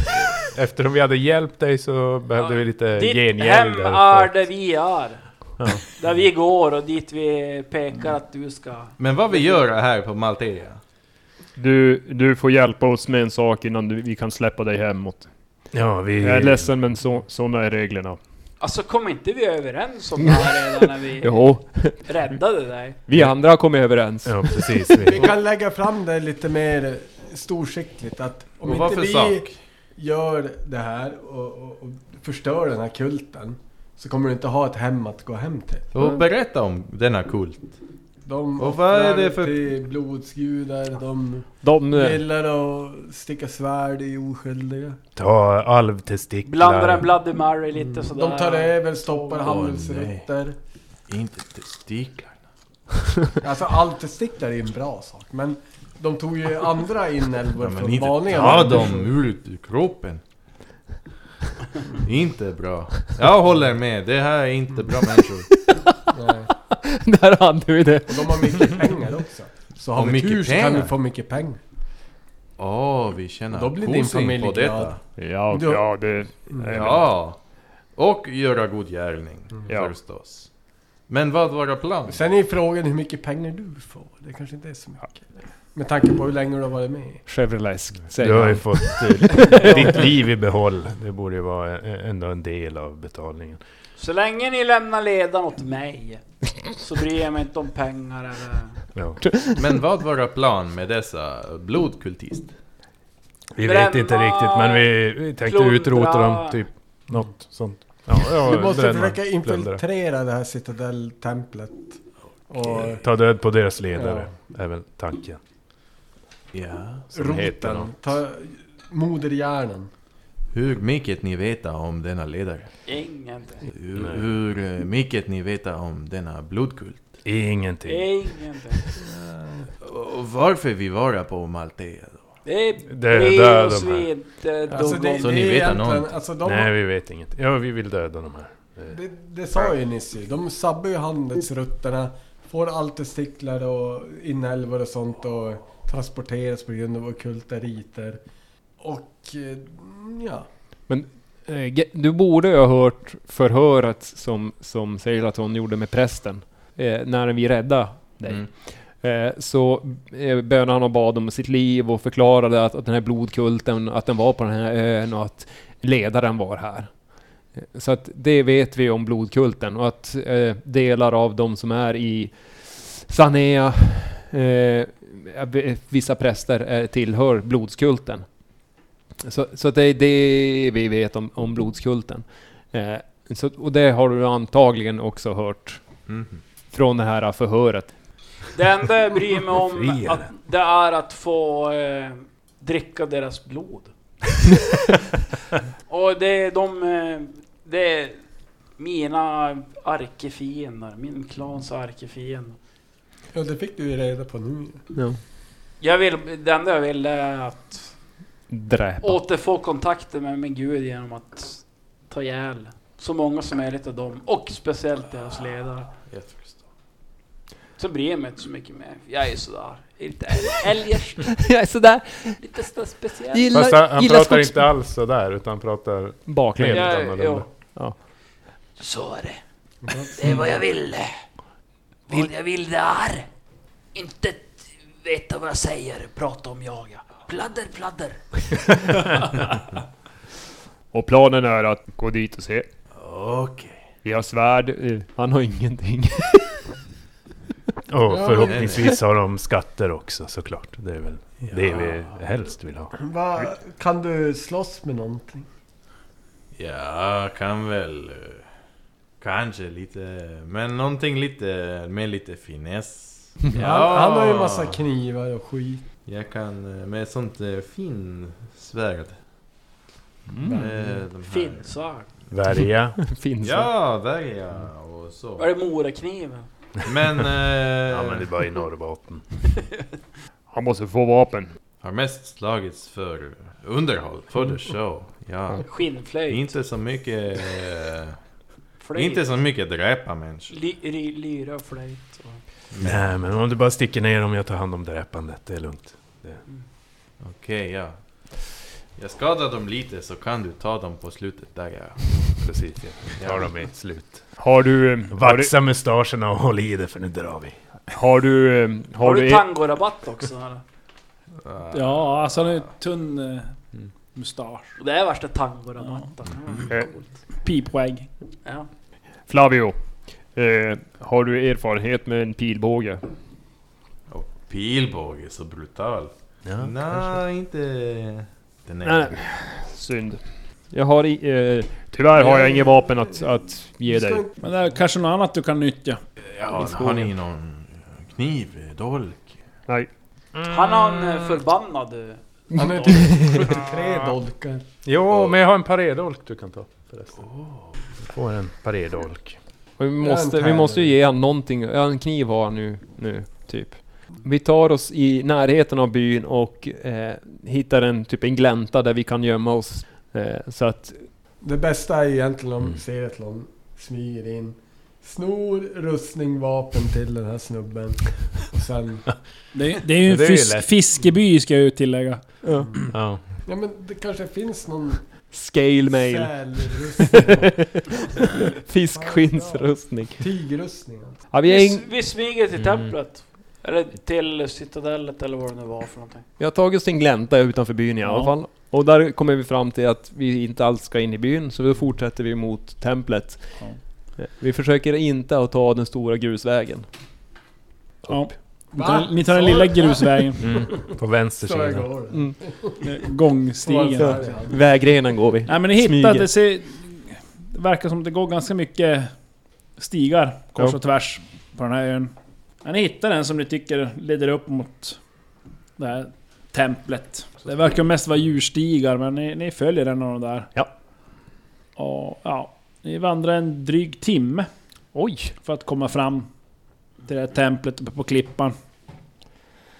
S4: Eftersom vi hade hjälpt dig så behövde vi lite
S9: Ditt
S4: gengäld.
S9: hem
S4: där
S9: är
S4: för-
S9: där vi är.
S4: Ja.
S9: Där vi går och dit vi pekar att du ska...
S10: Men vad vi gör här på Maltea?
S14: Du, du får hjälpa oss med en sak innan du, vi kan släppa dig hemåt.
S4: Ja, vi-
S14: Jag är ledsen men så, såna är reglerna.
S9: Alltså kom inte vi överens om det här redan när vi
S8: Jo.
S9: räddade dig?
S8: Vi andra har kommit överens.
S4: Ja, precis.
S6: Vi kan lägga fram det lite mer storsiktligt att om
S10: Och vad
S6: inte
S10: för
S6: vi
S10: sak?
S6: gör det här och, och, och förstör den här kulten så kommer du inte ha ett hem att gå hem till.
S10: Och berätta om denna kult.
S6: De
S10: Och vad är
S6: offrar
S10: det för-
S6: till blodsgudar, de,
S8: De, eh,
S6: gillar att sticka svärd i oskyldiga.
S4: Ta alvtestiklar.
S9: Blandar en Bloody Mary lite sådär.
S6: De tar över, stoppar
S9: Åh,
S6: handelsrutter.
S10: Inte testiklarna.
S6: Alltså allt testiklar är ju en bra sak men de tog ju andra inälvor
S10: Men
S6: från
S10: inte
S6: vanliga
S10: ta
S6: människor.
S10: dem ur kroppen. inte bra. Jag håller med, det här är inte bra människor.
S8: (laughs) Där hade vi det.
S6: Och de har mycket pengar också. Så har
S10: Och
S6: vi
S10: mycket
S6: tur så kan
S10: pengar.
S6: vi få mycket pengar.
S10: Åh, vi tjänar
S6: Då blir din
S10: kosing
S6: familj
S10: på
S6: glad.
S10: detta.
S14: Ja, Du- ja, det-
S10: Ja. Och göra god gärning,
S6: Mm.
S14: Ja.
S10: förstås. Men vad var planen?
S6: Sen är frågan hur mycket pengar du får. Det kanske inte är så mycket. Med tanke på hur länge du har varit med.
S8: Chevrolesk,
S4: Du har ju fått eh, ditt liv i behåll. Det borde ju vara eh, ändå en del av betalningen.
S9: Så länge ni lämnar ledan åt mig så bryr jag mig inte om pengar eller...
S4: Ja.
S10: Men vad var plan med dessa blodkultist?
S4: Vi vet inte riktigt, men vi, vi tänkte
S10: plundra.
S4: utrota dem, typ. Något sånt. Ja, ja,
S6: du måste
S4: bränna,
S6: försöka
S4: plundra.
S6: infiltrera det här citadelltemplet. Och
S4: Ta död på deras ledare, är väl tanken.
S10: Ja.
S4: Som heter
S6: roten.
S4: något.
S6: Ta moderhjärnan.
S10: Hur mycket ni vet om denna ledare?
S9: Ingenting.
S10: Hur, hur eh, mycket ni vet om denna blodkult?
S4: Ingenting.
S9: Ingenting.
S10: Och varför vi var på Maltea då?
S9: Det
S4: Det
S9: bryr
S4: där
S9: oss
S4: de här.
S9: vi inte
S6: Alltså,
S9: dugg om.
S10: Så ni vet
S6: egentligen-
S10: någonting?
S6: alltså, de-
S4: Nej, vi vet inget. Ja, vi vill döda de här.
S6: Det, det sa ju Nisse ju. De sabbar ju handelsrutterna. Får allt testiklar och inälvor och sånt och transporteras på grund av ockulta riter. Och eh, ja.
S8: Men eh, ge- du borde ju ha hört förhöret som, som Seilaton gjorde med prästen. Eh, när vi räddade dig.
S10: Mm.
S8: Eh, så eh, bönade han och bad om sitt liv och förklarade att, att den här blodkulten, att den var på den här ön och att ledaren var här. Eh, Så att det vet vi om blodkulten och att eh, delar av de som är i Sanea, eh, vissa präster eh, tillhör blodskulten. Så, så att det är det vi vet om, om blodskulten. Eh, så, och det har du antagligen också hört
S10: Mhm.
S8: från det här förhöret.
S9: Det enda jag bryr mig om
S8: Befriaren.
S9: att det är att få eh, dricka deras blod. (laughs) Och det är de... Eh, det är mina arkefiender, min klans arkefiender.
S6: Ja, det fick du ju reda på nu.
S8: Ja.
S9: Jag vill, det enda jag vill är att
S8: Dräpa.
S9: återfå kontakten med min gud genom att ta ihjäl så många som möjligt av dem och speciellt deras ledare.
S10: Jag förstår.
S9: Så bryr jag mig inte så mycket mer. Jag är sådär. Lite eljest.
S8: (laughs) Jag är sådär.
S9: Lite sådär speciell.
S4: Fast han, han pratar inte alls sådär, utan han pratar
S8: Baklänges.
S4: helt
S9: Ja,
S4: annorlunda.
S8: Ja.
S9: Så är det. Det är vad jag ville. Vad jag vill det är. Inte t- veta vad jag säger, prata om jag. ja. Pladder, pladder.
S14: Och planen är att gå dit och se.
S10: Okej.
S14: Vi har svärd. eh,
S8: Han har ingenting. (laughs)
S4: Och
S6: Ja,
S4: förhoppningsvis
S6: men-
S4: har de skatter också såklart. Det är väl det vi helst vill ha.
S6: Va, kan du slåss med någonting?
S10: Ja, kan väl... eh, Kanske lite... Men någonting lite... Med lite finess. Ja.
S6: (laughs) Han, han har ju massa knivar och skit.
S10: Jag kan eh, med ett sånt eh, fin svärd.
S6: Mm.
S10: Med de här-
S9: Finnsvärd.
S4: Värja.
S8: Finns
S10: Ja, där är jag. Och så.
S9: Var det Morakniven?
S10: Men... Eh,
S4: (laughs) (laughs) Ja men det är bara i Norrbotten.
S14: Han måste få vapen.
S10: Har mest slagits för underhåll, för the show. Ja.
S9: Skinnflöjt?
S10: Inte så mycket... Eh,
S9: Flöjt?
S10: inte så mycket dräpa människor.
S9: Ly, ry, lyra och flöjt? och-
S4: Nej men om du bara sticker ner dem, jag tar hand om dräpandet. Det är lugnt.
S10: Okej, ja. Jag skadar dem lite så kan du ta dem på slutet där ja.
S4: Precis (laughs) ja. Tar dem i ett slut.
S14: Har du... eh, Har du...
S4: Vaxa mustascherna och håll i det för nu drar vi.
S14: Har du... eh,
S9: Har,
S14: Har
S9: du
S14: du... e-
S9: tangorabatt också eller?
S3: Ja, alltså han har ju tunn eh, mustasch.
S9: Det är värsta tangorabatten. Mm.
S14: Eh,
S3: Pipskägg.
S9: Ja.
S14: Flavio. Eh, har du erfarenhet med en pilbåge?
S10: Och pilbåge, så brutal.
S4: Ja,
S10: Nej, inte... Den är...
S14: Nej. Synd. Jag har... i- Eh, tyvärr har jag inget vapen att, att ge dig.
S3: Men det är kanske något annat du kan nyttja.
S10: Ja, har ni någon kniv, dolk?
S14: Nej.
S9: Han har en eh, förbannad... eh,
S6: Han är typ 73 dolkar.
S4: Jo, men jag har en paredolk du kan ta förresten. Du Oh. får en paredolk.
S8: Och vi, måste, vi måste ju ge han någonting. Ja, en kniv har han nu, nu, typ. Vi tar oss i närheten av byn och eh, hittar en, typ en glänta där vi kan gömma oss. Eh, så att
S6: Det bästa är egentligen om Seratlon smyger in, snor rustning, vapen till den här snubben. Och sen...
S3: Det, det är ju en
S4: Det är ju
S3: fisk,
S4: lätt.
S3: fiskeby ska jag ju tillägga.
S4: Ja.
S6: Ja men det kanske finns någon
S8: scale mail,
S6: sälrustning.
S8: (laughs) fiskskinnsrustning.
S6: Tigrustning alltså.
S8: Ja, vi, är
S9: Vi,
S8: in,
S9: vi smyger till templet. Eller till citadellet eller vad det nu var för någonting.
S8: vi har tagit oss till en glänta utanför byn i alla
S3: Ja.
S8: fall. Och där kommer vi fram till att vi inte alls ska in i byn, så då fortsätter vi mot templet.
S3: Ja.
S8: Eh, Vi försöker inte att ta den stora grusvägen.
S3: Ja. Ni tar, ni tar den lilla
S9: (laughs)
S3: grusvägen.
S4: På vänster
S6: Så jag
S4: sida.
S6: går.
S3: eh, Gångstigen.
S6: Varför är han?
S8: Vägrenen går vi.
S3: Nej men ni hittar, det ser... Det verkar som att det går ganska mycket stigar kors och tvärs på den här ön. Ja, ni hittar den som ni tycker leder upp mot det här templet. Det verkar mest vara djurstigar men ni, ni följer en av de där.
S8: Ja.
S3: Och ja, ni vandrar en dryg timme. Oj! För att komma fram till det här templet uppe på klippan.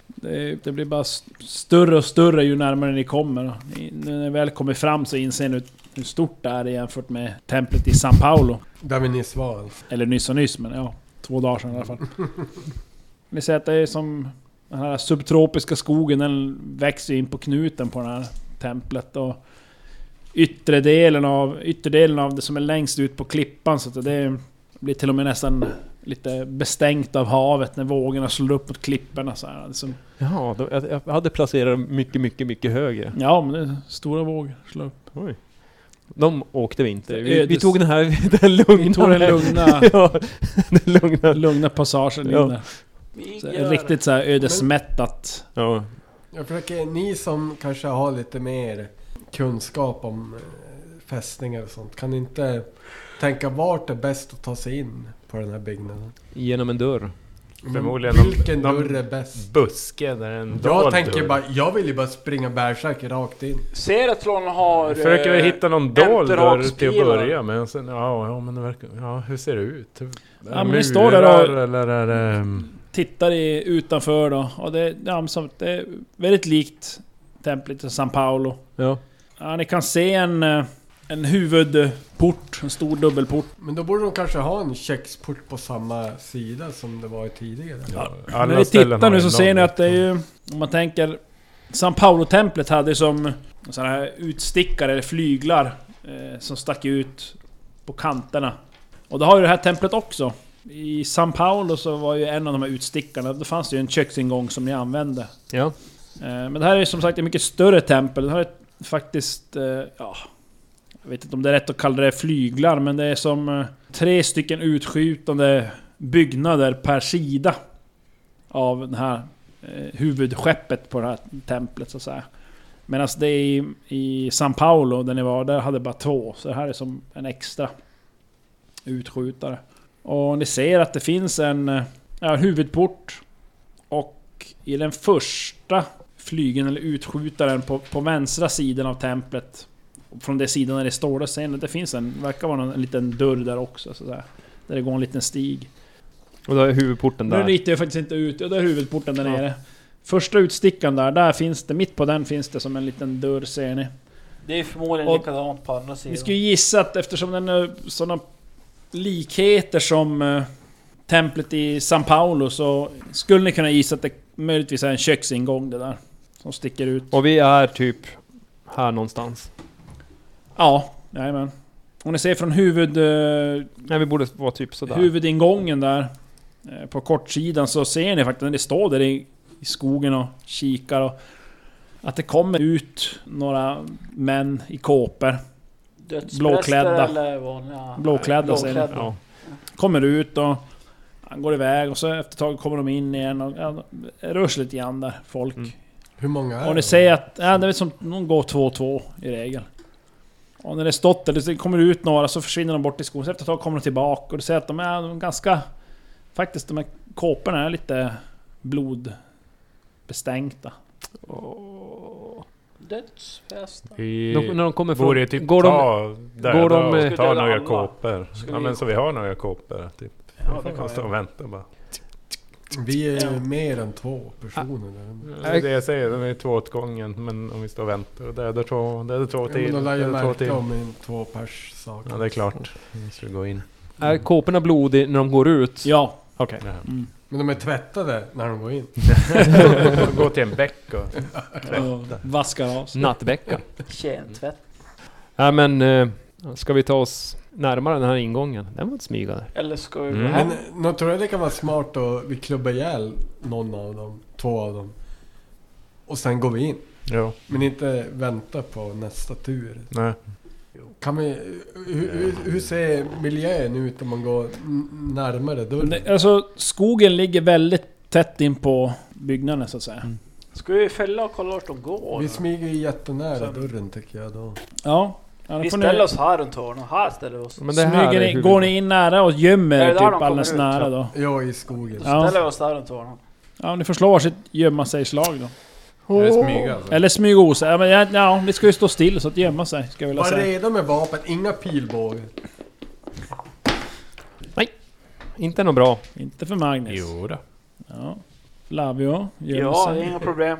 S3: Det, det blir bara st- större och större ju närmare ni kommer. Ni, när ni väl kommer fram så inser ni hur stort det här är jämfört med templet i San Paulo.
S6: Där vi nyss var alltså.
S3: Eller nyss och nyss, men ja. Två dagar sedan i alla fall. Ni ser att det är som den här subtropiska skogen, den växer in på knuten på det här templet. Och yttre delen av, ytterdelen av det som är längst ut på klippan, så att det blir till och med nästan lite bestängt av havet när vågorna slår upp mot klipporna. Så här. Liksom, Det är som,
S8: Jaha, då, jag, jag hade placerat dem mycket, mycket, mycket högre.
S3: ja, men det är stora vågor. Slår upp.
S8: De åkte vi inte. Vi, vi
S3: Ödes-
S8: tog den här (laughs) den här lugna...
S3: Vi tog den lugna,
S8: (laughs) ja, den lugna.
S3: lugna passagen
S8: Ja.
S3: in där.
S9: Vi
S3: Så
S9: gör-
S3: Riktigt så här ödesmättat.
S8: Ja.
S6: Jag försöker, ni som kanske har lite mer kunskap om eh, fästningar och sånt. Kan ni inte tänka vart det är bäst att ta sig in på den här byggnaden?
S8: Genom en dörr.
S6: Men
S4: Förmodligen de-
S6: Vilken
S4: de-
S6: dörr är bäst?
S4: Buske, där är en
S6: Jag
S4: dold
S6: tänker
S4: dörr.
S6: bara, jag vill ju bara springa bärsärk rakt in.
S9: Seratlon har...
S4: Försöker väl
S9: eh,
S4: hitta någon dold dörr till att
S9: enterhakspilar.
S4: börja med. Sen, ja, ja, men det verkar... Ja, hur ser det ut? Är det
S3: Ja, men vi står där och-
S4: murar Eller är det... ehm,
S3: tittar i, utanför då. Och det, ja, men som, det är väldigt likt templet i San Paolo.
S8: Ja.
S3: Ja, ni kan se en, eh, en huvudport, en stor dubbelport.
S6: Men då borde de kanske ha en köksport på samma sida som det var tidigare.
S4: alla
S3: När ni
S4: ställen har
S3: tittar nu
S4: en
S3: så
S4: lång-
S3: ser ni att det är ju... Om man tänker... San Paolo-templet hade ju som sådana här utstickare eller flyglar eh, som stack ut på kanterna. Och det har ju det här templet också. I San Paolo så var ju en av de här utstickarna, då fanns det ju en köksingång som ni använde.
S8: Ja.
S3: Eh, Men det här är ju som sagt ett mycket större tempel. Det här är faktiskt... eh, Ja, jag vet inte om det är rätt att kalla det flyglar, men det är som eh, tre stycken utskjutande byggnader per sida av den här eh, huvudskeppet på det här templet så att säga. Medan det i, i San Paulo, där ni var, där hade bara två. Så det här är som en extra utskjutare. Och ni ser att det finns en eh, ja, huvudport. Och i den första flygen eller utskjutaren på, på vänstra sidan av templet Från den sidan där det står, där ser ni att det finns en, verkar vara någon, en liten dörr där också. Sådär. Där det går en liten stig.
S8: Och då är huvudporten
S3: Nu
S8: där.
S3: ritar jag faktiskt inte ut, ja det är huvudporten där nere. Första utstickan där, där finns det, mitt på den finns det som en liten dörr ser ni.
S9: Det är förmodligen
S3: Och-
S9: likadant på andra sidan.
S3: Vi skulle ju gissa att eftersom den är sådana likheter som eh, templet i São Paulo så skulle ni kunna gissa att det möjligtvis är en köksingång det där. Som sticker ut.
S8: Och vi är typ här någonstans.
S3: Ja, jajamän. Och ni ser från huvud, eh,
S8: Nej, vi borde vara typ sådär.
S3: huvudingången där eh, på kortsidan så ser ni faktiskt när ni står där i, i skogen och kikar och att det kommer ut några män i kåpor.
S9: Dödspräster
S3: blåklädda.
S9: Eller vanliga,
S3: Blåklädda säger ni.
S9: Blåklädda.
S8: Ja.
S3: Kommer ut och han går iväg och så efter ett tag kommer de in igen och ja, det rörs lite grann där, folk.
S6: Hur många är
S3: Och ni säger att, ja det är som, de går två och två i regel. Och när det stått där, det kommer ut några så försvinner de bort i skogen, så efter ett tag kommer de tillbaka och du ser att de är, de är ganska... Faktiskt de här kåporna är lite blodbestänkta.
S9: Dödsfest.
S8: De, när de kommer från...
S4: Borde typ
S8: går de,
S4: ta, döda
S8: går de, eh,
S4: och ta
S9: Skulle
S4: några
S9: alla-
S4: kåpor.
S9: skulle
S4: Ja
S9: vi-
S4: men så vi har några kåpor. Typ.
S9: Ja, det
S4: Vi kan
S9: kan
S4: stå och vänta bara.
S6: Vi är mer än två personer där.
S4: Det är det jag säger, den är två åt gången. Men om vi står och väntar och dödar två, dödar två
S6: Ja, men
S4: till.
S6: de lär ju
S4: dödar två till.
S6: märka om en två pers sak.
S4: Ja det är klart. Då måste vi gå in.
S8: är kåporna blodiga när de går ut?
S3: Ja,
S8: Okej.
S6: Men de är tvättade när de går in.
S4: (laughs) gå till en bäck och...
S3: och vaskar av sig.
S8: Mm. Nattbäcka.
S9: Kentvätt.
S8: Nej men... eh, Ska vi ta oss närmare den här ingången? Den var inte smygande.
S9: Eller ska vi
S4: Mm.
S9: gå hem?
S6: Men nå tror jag det kan vara smart att vi klubbar ihjäl någon av dem, två av dem. Och sen går vi in.
S4: Jo,
S6: Men inte vänta på nästa tur.
S4: nej.
S6: Kan vi, eh, hur, hur, hur ser miljön ut om man går n- närmare dörren?
S3: Det- Alltså skogen ligger väldigt tätt in på byggnaden så att säga.
S8: Mm.
S9: Ska vi fälla och kolla vart de går?
S6: Vi
S9: Vi,
S6: smyger ju jättenära
S9: Sen-
S6: dörren tycker jag då.
S3: Ja. ja, då får ni-
S9: ställer oss här runt hörnet. Här ställer vi oss.
S8: Men det här
S3: smyger
S8: är
S3: ni, går
S8: huvud-
S3: ni in nära och gömmer
S9: Är det
S3: er
S9: där de
S3: typ
S9: kommer
S3: alldeles
S9: ut?
S3: nära då?
S6: Ja, i skogen.
S3: Ja.
S9: Ställer vi oss där runt hörnet.
S3: Ja, ni får slå varsitt gömma sig-slag då.
S10: Är det smyga alltså?
S3: Eller smyga osa. Ja, men ja, ja, ni ska ju stå still så att gömma sig, ska jag vilja
S6: Var
S3: säga.
S6: redo med vapen, inga pilbågar.
S8: Inte något bra.
S3: Inte för Magnus.
S4: Jo då.
S3: Ja. Flavio gömmer
S9: Ja, det är
S3: sig.
S9: inga problem.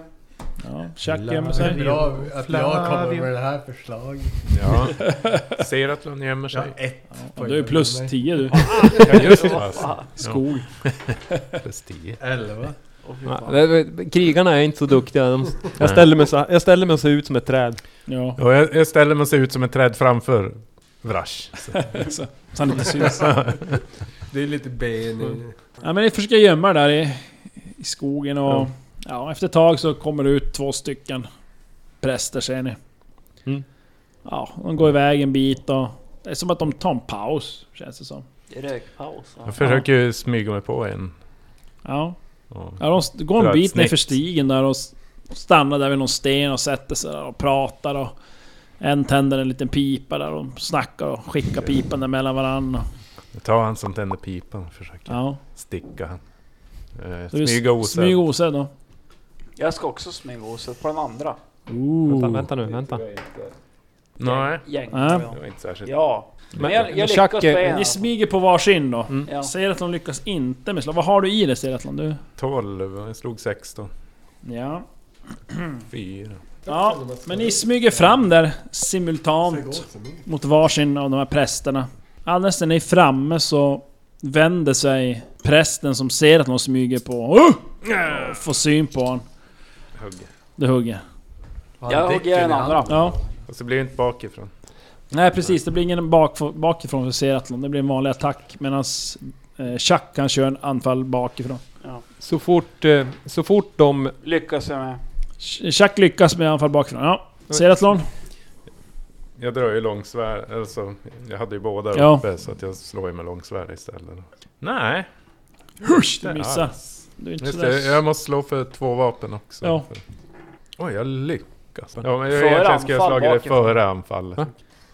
S3: Ja, Chuck gömmer sig.
S6: Bra att jag kommer med det här förslaget.
S4: (laughs) Ja. Ser att hon gömmer
S6: Jag har
S4: sig.
S6: ett
S3: Ja,
S6: poäng
S3: du är plus
S6: med mig.
S3: 10 du.
S4: Ja just
S9: (laughs)
S4: det.
S3: Skog.
S4: Plus tio.
S6: Elva.
S8: Nej, det- krigarna är inte så duktiga. De, jag, ställer mig så, jag ställer mig så ut som ett träd.
S3: Ja,
S4: Och jag, jag ställer mig och ser ut som ett träd framför Vrash.
S3: så, så han inte syns.
S6: Det är lite ben i...
S3: Ja, men ni försöker gömma er där i, i skogen och... Ja. efter ett tag så kommer det ut två stycken präster ser ni.
S8: Mm.
S3: Ja, de går iväg en bit och... Det är som att de tar en paus, känns det som.
S9: Rökpaus. Ja.
S4: Jag försöker ju smyga mig på en.
S3: Ja.
S4: Ja.
S3: Ja, de st- går en
S4: Rökt
S3: bit ner för
S4: snyggt.
S3: stigen där och s- stannar där vid någon sten och sätter sig där och pratar och... En tänder en liten pipa där och snackar och skickar pipan där mellan varandra.
S4: Jag tar han som tänder pipan och försöker
S3: Ja.
S4: sticka han. Eh,
S3: Så du s-
S4: smyga osedd.
S3: Smyg osedd då.
S9: Jag ska också smyga oset på den andra.
S8: Vänta,
S3: Ooh.
S8: vänta nu, vänta.
S4: Nej,
S9: Gäng.
S3: Ja.
S4: det var inte särskilt.
S9: Ja. Men jag, jag
S8: Chuck,
S9: lyckas på en.
S3: Ni smyger på varsin då.
S4: Mm.
S9: Ja.
S3: Seratlon lyckas inte med slag. Vad har du i dig Seratlon? Du?
S4: 12, jag slog 16.
S3: Ja.
S4: 4.
S3: ja. Men ni smyger fram där simultant mot varsin av de här prästerna. Alldeles när ni är framme så vänder sig prästen som ser att någon smyger på och får syn på honom.
S4: Hugger.
S3: Det hugger.
S9: Jag hugger den andra.
S3: Ja.
S4: Och så blir det inte bakifrån.
S3: Nej precis, det blir ingen bak, bakifrån för Seratlon. Det blir en vanlig attack medan eh, Chuck kan köra en anfall bakifrån.
S8: Så fort, eh, så fort de...
S9: Lyckas jag med.
S3: Ch- Chuck lyckas med anfall bakifrån. Ja. Seratlon?
S4: Jag drar ju långsvärd, alltså jag hade ju båda
S3: Ja.
S4: uppe så att jag slår ju med långsvärd istället. Nej,
S3: Husch! Du
S4: inte
S3: missar.
S4: alls.
S3: Du är inte
S4: Just
S3: sådär-
S4: det, jag måste slå för två vapen också.
S3: Ja.
S4: För- Oj, jag lyckas. Ja, men jag,
S9: Före
S4: egentligen ska jag
S9: anfall
S4: slagit det
S9: bakifrån.
S4: före anfallet.
S8: Va?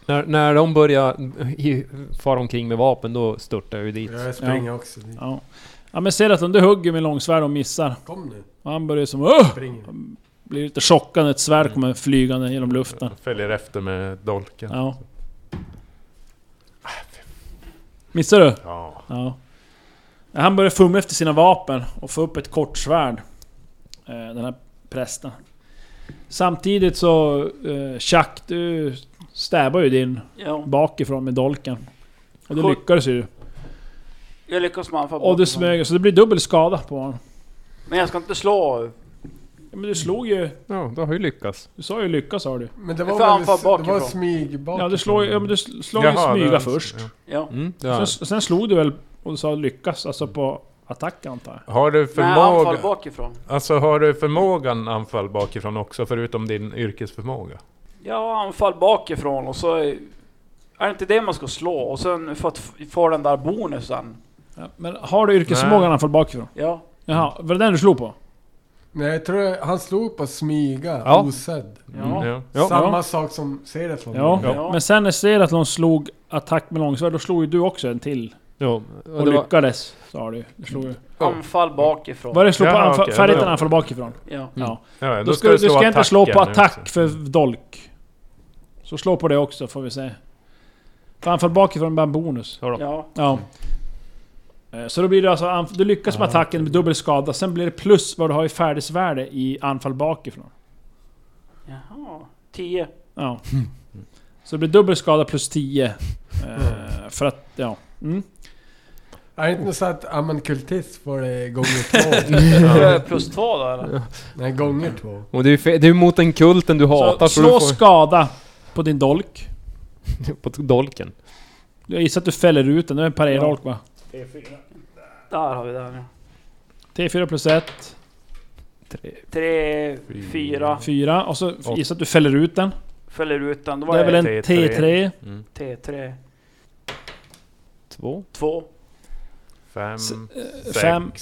S8: När, när de börjar i- fara omkring med vapen, då störtar jag ju dit.
S6: Jag springer också.
S3: Ja. ja men Seratlon, du hugger med långsvärd och missar.
S6: Kom nu,
S3: Och han börjar som Åh!
S6: spring.
S3: blir lite chockad när ett svärd kommer flygande genom luften.
S4: Följer efter med dolken.
S3: Ja. Missar du?
S4: Ja.
S3: Ja. Han börjar fumla efter sina vapen och få upp ett kort svärd. Eh, Den här prästen. Samtidigt så... eh, Chuck, du stäbar ju din
S9: Ja.
S3: bakifrån med dolken. Och det
S9: Cool.
S3: lyckades ju.
S9: Jag lyckas med anfall
S3: Och du smög, så det blir dubbel skada på honom.
S9: Men jag ska inte slå.
S3: Ja, men du slog ju...
S8: Ja, du har ju lyckats.
S3: Du sa ju lycka sa du.
S6: Men det
S9: Jag
S6: var
S9: får
S6: väl...
S9: anfall
S6: Det var
S9: bakifrån.
S6: smyg bakifrån.
S3: Ja, du slår, ju- ja, men du sl- slår
S4: Jaha,
S3: ju
S4: det
S3: smyga
S4: var-
S3: först.
S9: Ja.
S8: Mm, det har.
S3: Sen, sen slog du väl och du sa lyckas, alltså på attack antar jag?
S4: Har du
S9: Nej, anfall
S4: förmåga...
S9: bakifrån.
S4: Alltså har du förmågan anfall bakifrån också, förutom din yrkesförmåga?
S9: Ja, anfall bakifrån och så... Är är det inte det man ska slå? Och sen för att f- få den där bonusen.
S3: Ja, men har du yrkesförmågan anfall bakifrån?
S9: Ja.
S3: Jaha, var det den du slog på?
S6: Nej, jag tror jag- han slog på smyga,
S8: Ja.
S6: osedd.
S9: Ja.
S4: Ja.
S6: Samma sak som Seratlon.
S3: Ja.
S9: Ja.
S3: Men sen när Seratlon slog attack med långsvärd, då slog ju du också en till.
S8: Ja,
S3: Och
S8: det var,
S3: lyckades, sa du. du slog ju.
S9: Anfall bakifrån.
S3: Var det slå på
S4: Ja,
S3: anfall,
S4: okej,
S3: färdigheten
S4: ja.
S3: anfall bakifrån?
S9: Ja.
S3: Ja.
S4: Ja,
S3: Då ska, du du ska inte slå på
S4: attacken liksom.
S3: attack liksom.
S4: nu också.
S3: för dolk. Så slå på det också får vi se. För anfall bakifrån är bara en bonus. Har de.
S9: Ja.
S3: Ja. Eh, Så då blir det alltså, anf- du lyckas med attacken med dubbel skada, sen blir det plus vad du har i färdighetsvärde i anfall bakifrån.
S9: Jaha. 10.
S3: Ja. Så det blir dubbel skada plus 10. eh, För att, ja. Mm.
S6: Är det inte något så att amankultist var det gånger två?
S9: Plus 2 då eller?
S6: Nej, gånger två.
S8: och det är ju fe- det är ju mot den kulten du hatar.
S3: Så
S8: Så, du
S3: slå
S8: får
S3: skada på din dolk.
S8: på dolken.
S3: Jag gissar att du fäller ut den, det är en parerdolk va?
S9: Där har vi den ja.
S3: T4 plus 1,
S9: 3, 4.
S3: 4 och så gissar att du fäller ut den.
S9: Fäller ut den. Då var
S3: Det är väl en
S4: T3.
S3: T3.
S9: T3.
S8: Två,
S9: 2.
S4: Fem,
S3: eh,
S4: sex.
S3: fem.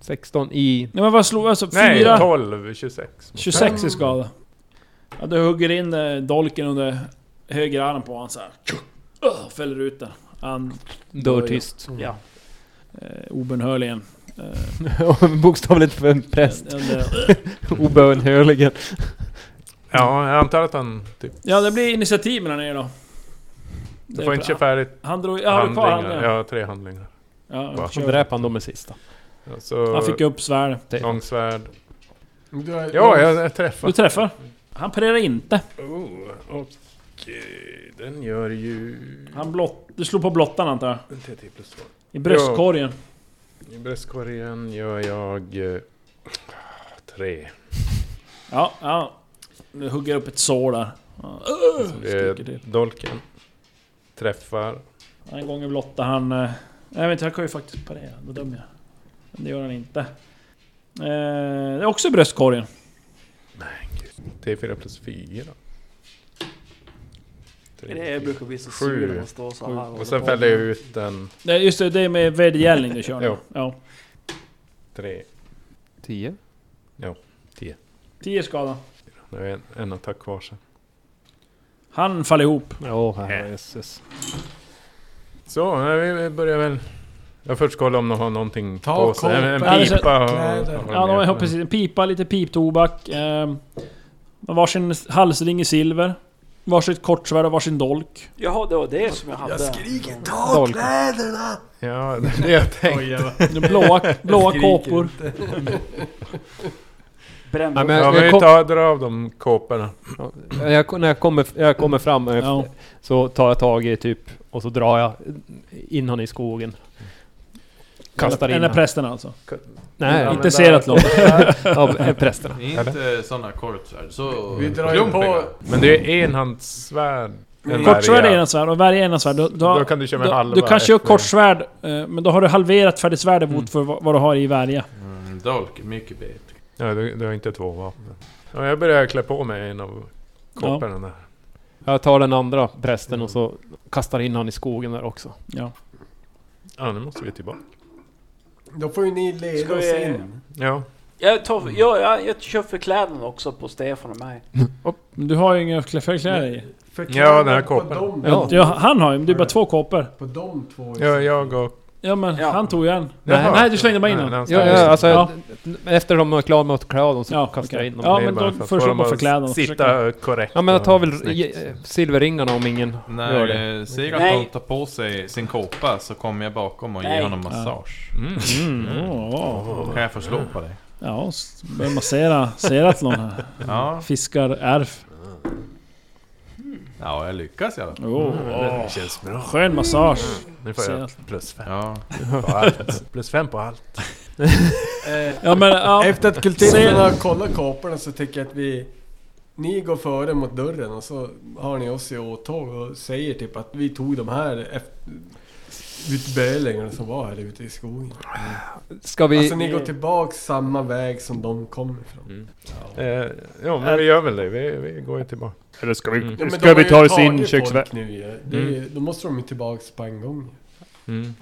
S8: 16 i...
S3: Nej men vad slog alltså?
S4: Nej,
S3: 4,
S4: 12, 26.
S3: 26 i skada. Ja, du hugger in eh, dolken under höger arm på honom såhär. Fäller ut den. Han
S8: Dör tyst.
S9: Ja.
S3: eh, obönhörligen. Eh,
S8: Bokstavligt för en (laughs) präst.
S3: under,
S8: Obönhörligen.
S4: Ja, jag antar att han... Typ,
S3: ja det blir initiativ mellan er då. Det
S4: du
S3: är
S4: får
S3: bra.
S4: inte köra färdigt
S3: Han drog... Ja, har du kvar
S4: handlingar.
S3: handen?
S4: Ja, tre handlingar.
S3: Ja,
S4: Bara.
S8: Så
S3: kör.
S8: dräper han dem med sista.
S4: Ja, Så,
S3: Han fick upp svärd.
S4: långsvärd.
S6: Du har,
S4: Ja, jag, jag träffar.
S3: Du träffar. Han parerar inte.
S4: Oh, och eh, den gör ju...
S3: Han blott, du slog på blottan antar jag?
S4: En T10 plus två.
S3: I bröstkorgen.
S4: I bröstkorgen gör jag... eh, Tre.
S3: Ja, ja. Nu hugger jag upp ett sår där. Ja, öh,
S4: Det är
S3: skriker till.
S4: dolken. Träffar.
S3: Den gången blottar han... eh, Nej vänta, han kan ju faktiskt parera. Då dömer jag. Men det gör han inte. Eh, det är också i bröstkorgen.
S4: T4 plus fyra. Tre,
S9: Det brukar bli så
S4: Sju.
S9: sur när man står så här.
S4: Och sen fäller jag ut den.
S3: Nej just det, det är med vedergällning du kör nu.
S4: Jo.
S3: Ja.
S4: Tre.
S8: 10.
S3: Tio skada.
S4: Nu är en, en attack kvar sen.
S3: Han faller ihop.
S8: Ja, oh, herrejösses.
S4: Så, nej, vi börjar väl... Jag först kolla om de har någonting
S6: Ta
S4: på sig. En, en
S3: kåpan.
S4: pipa och...
S6: Kläder.
S4: och- och-
S3: Ja, de har precis en pipa, lite piptobak. Eh, varsin halsring i silver. Varsitt kortsvärd och varsin dolk.
S9: Jaha, det var det som jag hade.
S6: jag skriker ta
S8: Dolk.
S6: kläderna!
S4: Ja, det är det jag tänkte.
S3: De blåa, blåa kåpor.
S8: Nej,
S9: Brände upp.
S8: men
S4: Ja,
S8: jag,
S4: vi
S8: jag, kom,
S4: tar, drar av de kåporna.
S8: jag, när jag kommer, jag kommer fram eh,
S3: Ja.
S8: så tar jag tag i typ och så drar jag in honom i skogen. Kastar in
S3: Den där
S8: honom.
S3: prästen alltså.
S8: Nej,
S3: inte Seratlon.
S8: (laughs) av eh, prästerna.
S10: Inte sådana kortsvärd, så...
S6: Vi drar ju på...
S4: Men det är ju enhandssvärd. En
S3: Mm. Kortsvärd är
S4: värja.
S3: enhandsvärd och värja är enhandsvärd. Du, du, har-
S4: Då kan du köra med
S3: du-
S4: halva
S3: du kan köra
S4: efter.
S3: kortsvärd, eh, men då har du halverat färdighetsvärdet mot för vad vad du har i värja.
S10: Mm, dolk, mycket bättre.
S4: Ja, du, du har inte två vapen. Ja, jag börjar klä på mig en av kåporna där.
S8: Jag tar den andra prästen och så kastar in honom i skogen där också.
S3: Ja.
S4: Ja, nu måste vi tillbaka.
S6: Då får ju ni
S9: Ska
S6: leda oss
S9: vi-
S6: in.
S4: Ja.
S9: Jag, tar, jag, jag, jag kör förklädnad också på Stefan och mig.
S3: Men du har ju inga klä- förkläder i.
S6: För kläderna
S4: den här
S6: på
S4: kåpan.
S6: dem-
S3: Ja. han har ju, men det är bara två kåpor.
S6: På de två.
S4: ja, jag och
S3: Ja men han tog ju en.
S8: Jaha.
S3: Nej, nej du slängde bara in honom.
S8: Ja, ja, alltså, Efter de är klara med att klä av dem så
S3: Ja,
S8: kastar jag
S3: okej.
S8: in dem.
S3: Ja,
S8: Det är
S3: men
S8: bara
S3: då
S8: för att
S3: först
S8: få
S3: upp
S8: dem
S3: och
S8: att
S3: förkläda dem.
S4: Sitta korrekt.
S8: Ja men jag tar väl
S4: och snyggt.
S8: ge- silverringarna om ingen gör det.
S10: När eh,
S9: Nej.
S10: Seraton tar på sig sin kåpa så kommer jag bakom och ger
S9: Nej.
S10: honom massage.
S3: Mm. Ja,
S10: Kan jag få slå på dig?
S3: ja s- börjar massera Seratlon här.
S10: Ja,
S3: Fiskar ärf.
S10: ja jag lyckas i alla fall.
S3: Oh,
S4: Det känns bra.
S3: Skön massage.
S4: Nu får jag
S3: Ser
S4: plus fem
S10: Ja.
S4: på allt. Plus fem på allt.
S6: Eh,
S3: Ja men ja.
S6: Efter att kultisterna har kollat kåporna så tycker jag att vi... Ni går före mot dörren och så har ni oss i åtåg och säger typ att vi tog de här efter utbölingarna som var här ute i skogen.
S8: Ska vi...
S6: Alltså ni går tillbaks samma väg som de kom ifrån.
S4: Eh, ja men vi gör väl det. Vi, vi går ju tillbaka. Mm.
S14: Eller ska vi,
S6: Ja, men de
S14: ska
S6: har
S14: vi
S6: ju
S14: ta Mm. oss
S6: tagit
S14: in
S6: folk
S14: köksvägen?
S6: nu ju. Det är, Då måste de ju tillbaks på en gång.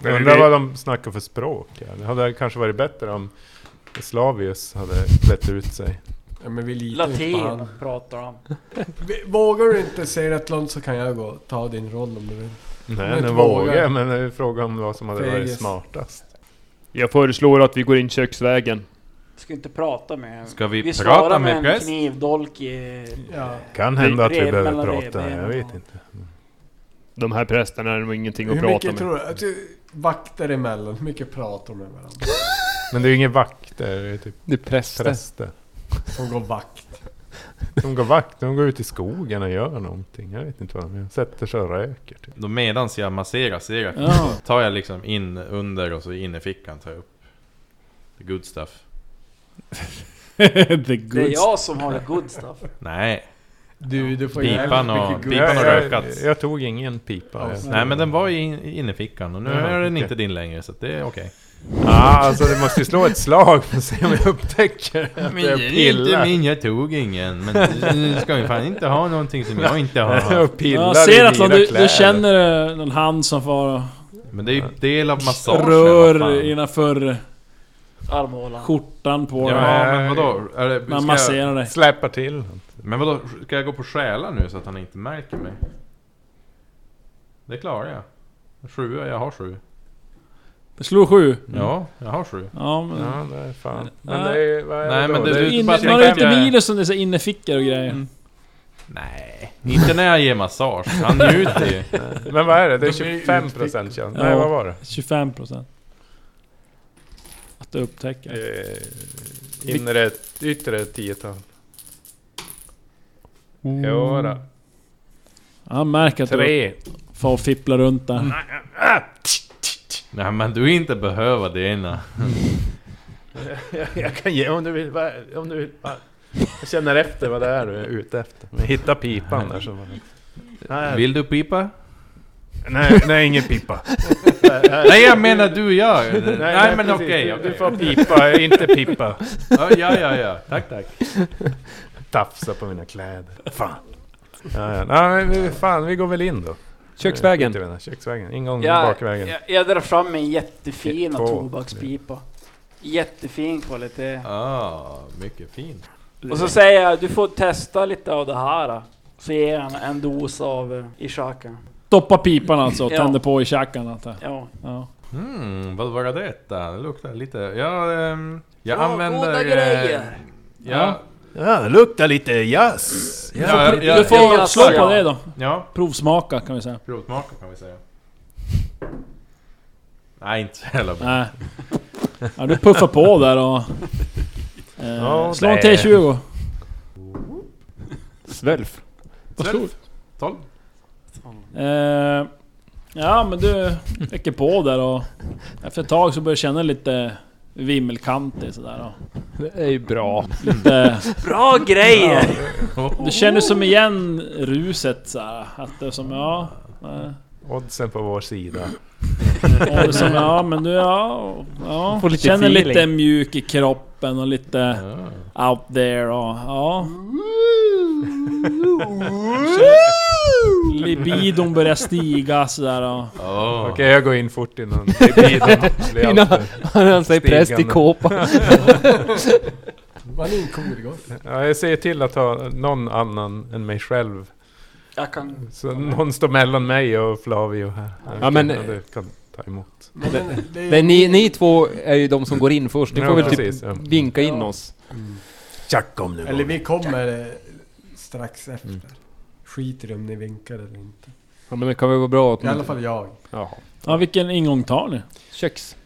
S4: Jag undrar vad de snackar för språk. Ja. Det hade kanske varit bättre om Slavius hade klätt ut sig.
S6: Ja, men vi litar ju inte på
S9: Latin
S6: han.
S9: pratar han.
S6: Vi- Vågar du inte säga ett land så kan jag gå och ta din roll om du vill.
S3: Mm.
S4: Nej,
S6: Men
S4: den
S6: vågar.
S4: vågar men det är frågan om vad som hade varit
S6: Fegis.
S4: smartast.
S14: Jag föreslår att vi går in köksvägen.
S9: Ska inte prata med...
S10: Ska vi prata
S9: svarar
S10: med
S9: en
S10: präst?
S9: knivdolk i...
S6: Ja.
S4: Kan hända att vi
S9: Rev
S4: behöver
S9: mellan
S4: prata,
S9: revbenen
S4: jag vet
S9: och-
S4: inte.
S14: De här prästerna är nog ingenting att
S6: Hur
S14: prata
S6: mycket
S14: med.
S6: tror du? att du- Vakter emellan, hur mycket pratar de med varandra?
S4: Men det är ju ingen vakt där, det är typ
S8: Det är präster.
S4: präster.
S6: Som går vakt.
S4: De går vakt, de går ut i skogen och gör någonting. Jag vet inte vad de gör. Sätter sig och röker typ.
S10: Då medans jag masserar Seraton (laughs)
S3: Ja.
S10: tar jag liksom in under och så in i fickan tar jag upp the good stuff.
S3: The
S9: Det är
S3: goods.
S9: jag som har det good stuff.
S10: Nej,
S6: Du, du får
S10: Pipan
S6: jävligt
S10: och-
S6: mycket
S10: pipan
S6: guld.
S10: och
S4: jag,
S10: röker.
S4: jag, jag tog ingen pipa.
S6: Ja,
S4: Jag-
S10: nej men den var ju in- inne i fickan och nu
S4: Jaha,
S10: är den
S4: okej.
S10: inte din längre så att det är okej.
S4: Ah, alltså du måste ju slå ett slag för att se om jag upptäcker att jag pillar.
S10: min, jag tog ingen. Men du ska ju fan inte ha någonting som jag inte
S4: (laughs) Jag pillar
S3: (laughs) Ja, ser
S4: i
S3: att
S4: dina
S3: du,
S4: kläder.
S3: du känner eh, någon hand som far och
S10: Men det är ju del av massagen. vad
S3: rör
S10: fan.
S3: innanför
S9: Armhålan.
S3: skjortan på
S10: Ja,
S3: dig.
S10: men vadå? Är det,
S3: Man
S10: ska jag,
S3: masserar dig.
S4: Släpar till.
S10: men vadå, ska jag gå på stjäla nu så att han inte märker mig? Det klarar jag. Sjua, jag har sju.
S3: Slå sju.
S10: Ja, jag har sju.
S3: Ja men...
S4: Ja, det är fan. Men
S3: Nej.
S4: det är, vad är
S10: Nej,
S4: då?
S10: men det-
S4: är
S10: du-
S4: ju
S3: In,
S10: bara
S3: man har
S4: bara
S10: tänker
S3: ju inte
S10: att-
S3: bilar som det är så här innefickor och grejer.
S10: Nej, inte när jag ger massage. Han njuter ju.
S4: Men vad är det? Det är
S6: De är ju
S4: 25 procent chans?
S3: Ja.
S4: Nej, vad var det?
S3: 25% Att du upptäcker.
S4: Eh, inre, yttre tiotal. Jodå.
S3: Han märker att du
S4: Tre.
S3: far och fipplar runt där.
S10: Nej men du inte behöver det ena.
S4: (laughs) Jag kan ge om du vill. vad- Om du vill. vad- Jag känner efter vad det är du är ute efter. Men hitta pipan där så. Nej,
S10: Vill du pipa?
S4: nej, (laughs) nej ingen pipa.
S10: Nej jag menar du jag! Nej,
S4: nej,
S10: men
S4: precis.
S10: okej,
S4: Du
S10: okej.
S4: får pipa, inte pipa.
S10: Ja, ja, ja, ja. Tack, tack.
S4: Tafsa på mina kläder. Fan. Ja, ja. Nej, men vi- fan, vi går väl in då.
S8: Köksvägen.
S4: Ut i den här Köksvägen. Ingång
S9: Jag,
S4: Mm. bakvägen.
S9: jag, jag drar fram min jättefina
S4: Ett, två,
S9: tobakspipa. Jättefin kvalitet.
S10: Ah, mycket fint.
S9: Och så säger jag, du får testa lite av det här. då." Så ger han en dos av eh, Ishaka.
S3: Stoppa pipan alltså och
S9: Ja.
S3: tänder på i käkan. antar jag.
S9: Ja.
S3: Ja.
S10: Mm, vad var detta? Det luktar lite... Ja, ehm, jag
S9: Bra,
S10: använder...
S9: goda
S10: eh,
S9: grejer.
S10: Ja,
S4: Ja, det luktar lite jazz.
S10: ja, ja, ja,
S3: Du får
S9: jag-
S3: slå på
S9: jag-
S3: det då.
S10: ja,
S3: Provsmaka kan vi säga.
S10: provsmaka kan vi säga. Nej, inte så jävla bra.
S3: Nej. Ja, du puffar på där och... Eh,
S4: Ja,
S3: slå en
S4: det-
S3: T20.
S8: Svälf.
S3: Vad
S10: Tolv.
S3: slog
S10: Tolv?
S3: Eh, ja men du räcker på där och... Efter ett tag så börjar du känna lite vimmelkantig sådär.
S8: Det är ju bra.
S3: Och lite,
S9: Bra grejer!
S3: du känner som igen ruset såhär. Att det är som ja... eh,
S4: Oddsen på vår sida.
S3: Ja, det som, ja men du, ja... ja.
S8: Får lite
S3: Känner
S8: feeling.
S3: lite mjuk i kroppen och lite out there och
S8: (laughs)
S3: ja... Libidon börjar stiga sådär och...
S10: Ja.
S4: Okej, jag går in fort innan (laughs) libidon blir
S8: Innan
S4: alltför...
S8: (laughs) han säger präst i
S4: Stigande.
S8: kåpa.
S6: Man är en korgott.
S4: Ja, jag ser till att ha någon annan än mig själv.
S9: Jag kan...
S4: Så någon står mellan mig och Flavio här.
S8: Ja, men-
S4: det kan ta emot.
S6: Men det är-
S8: Men ni, ni två är ju de som går in först. Ni
S4: Ja,
S8: får väl
S4: precis,
S8: typ
S4: ja.
S8: vinka in oss.
S4: Tjack om nu.
S6: Eller vi kommer eh, strax efter. Skiter i om ni vinkar eller inte.
S8: Ja, men det kan väl vara bra att...
S6: I alla fall jag.
S3: Ja, vilken ingång tar ni?
S8: Köks.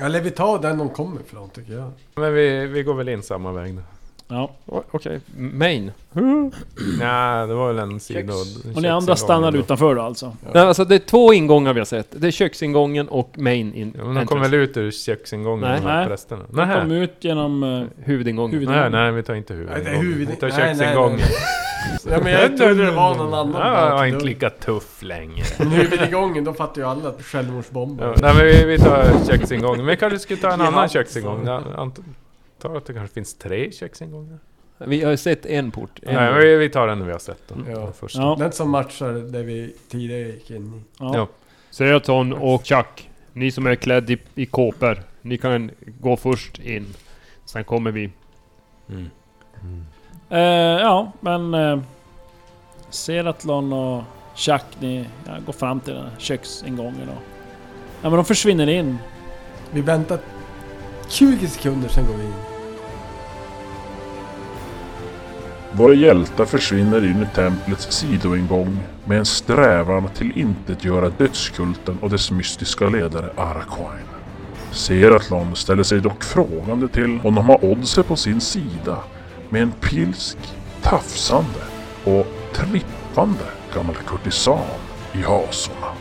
S6: Eller vi tar den de kommer ifrån tycker jag.
S4: Men vi, vi går väl in samma väg då.
S3: Ja.
S8: O- Okej. Main.
S6: Mm.
S4: Nej, det var väl en sida.
S3: Och ni andra stannar utanför då alltså?
S8: Nej, alltså det är två ingångar vi har sett. Det är köksingången och main in.
S4: Ja, men de kom väl ut ur köksingången
S8: Nej.
S4: de här
S3: Nej.
S4: prästerna?
S3: De kom
S4: Nej.
S3: ut genom... eh,
S8: Huvudingången.
S3: Huvud-
S4: Nej, nej, vi tar inte
S6: Nej, det
S4: huvudingången.
S6: är huvud-
S4: Vi tar
S6: nej, nej,
S4: köksingången.
S6: nej. Ja,
S4: (laughs)
S6: men jag trodde det var någon annan.
S4: Ja, jag var inte lika tuff längre.
S6: Men huvudingången, då fattar ju alla att självmordsbomber.
S4: Ja, nej men vi, vi tar köksingången. Vi kanske skulle ta en
S6: Ja.
S4: annan köksingång. Jag antar att det kanske finns tre köksingångar.
S8: Vi har ju sett en port. En
S4: Nej, men vi, vi tar den vi har sett då.
S6: Ja.
S4: Den första.
S3: Ja.
S6: Den som matchar det vi tidigare gick in i.
S3: ja.
S4: Ja.
S14: Seraton och Chuck, ni som är klädd i, i kåpor, ni kan gå först in. Sen kommer vi.
S4: Mm.
S3: Eh, ja, men... Eh, Seratlon och Chuck, ni ja, går fram till den här köksingången och... Ja, men de försvinner in.
S6: Vi väntar 20 sekunder, sen går vi in.
S1: Våra hjältar försvinner in i templets sidoingång med en strävan till intetgöra dödskulten och dess mystiska ledare Arakoin. Seratlon ställer sig dock frågande till om de har oddser på sin sida med en pilsk, tafsande och trippande gammal kurtisan i hasorna.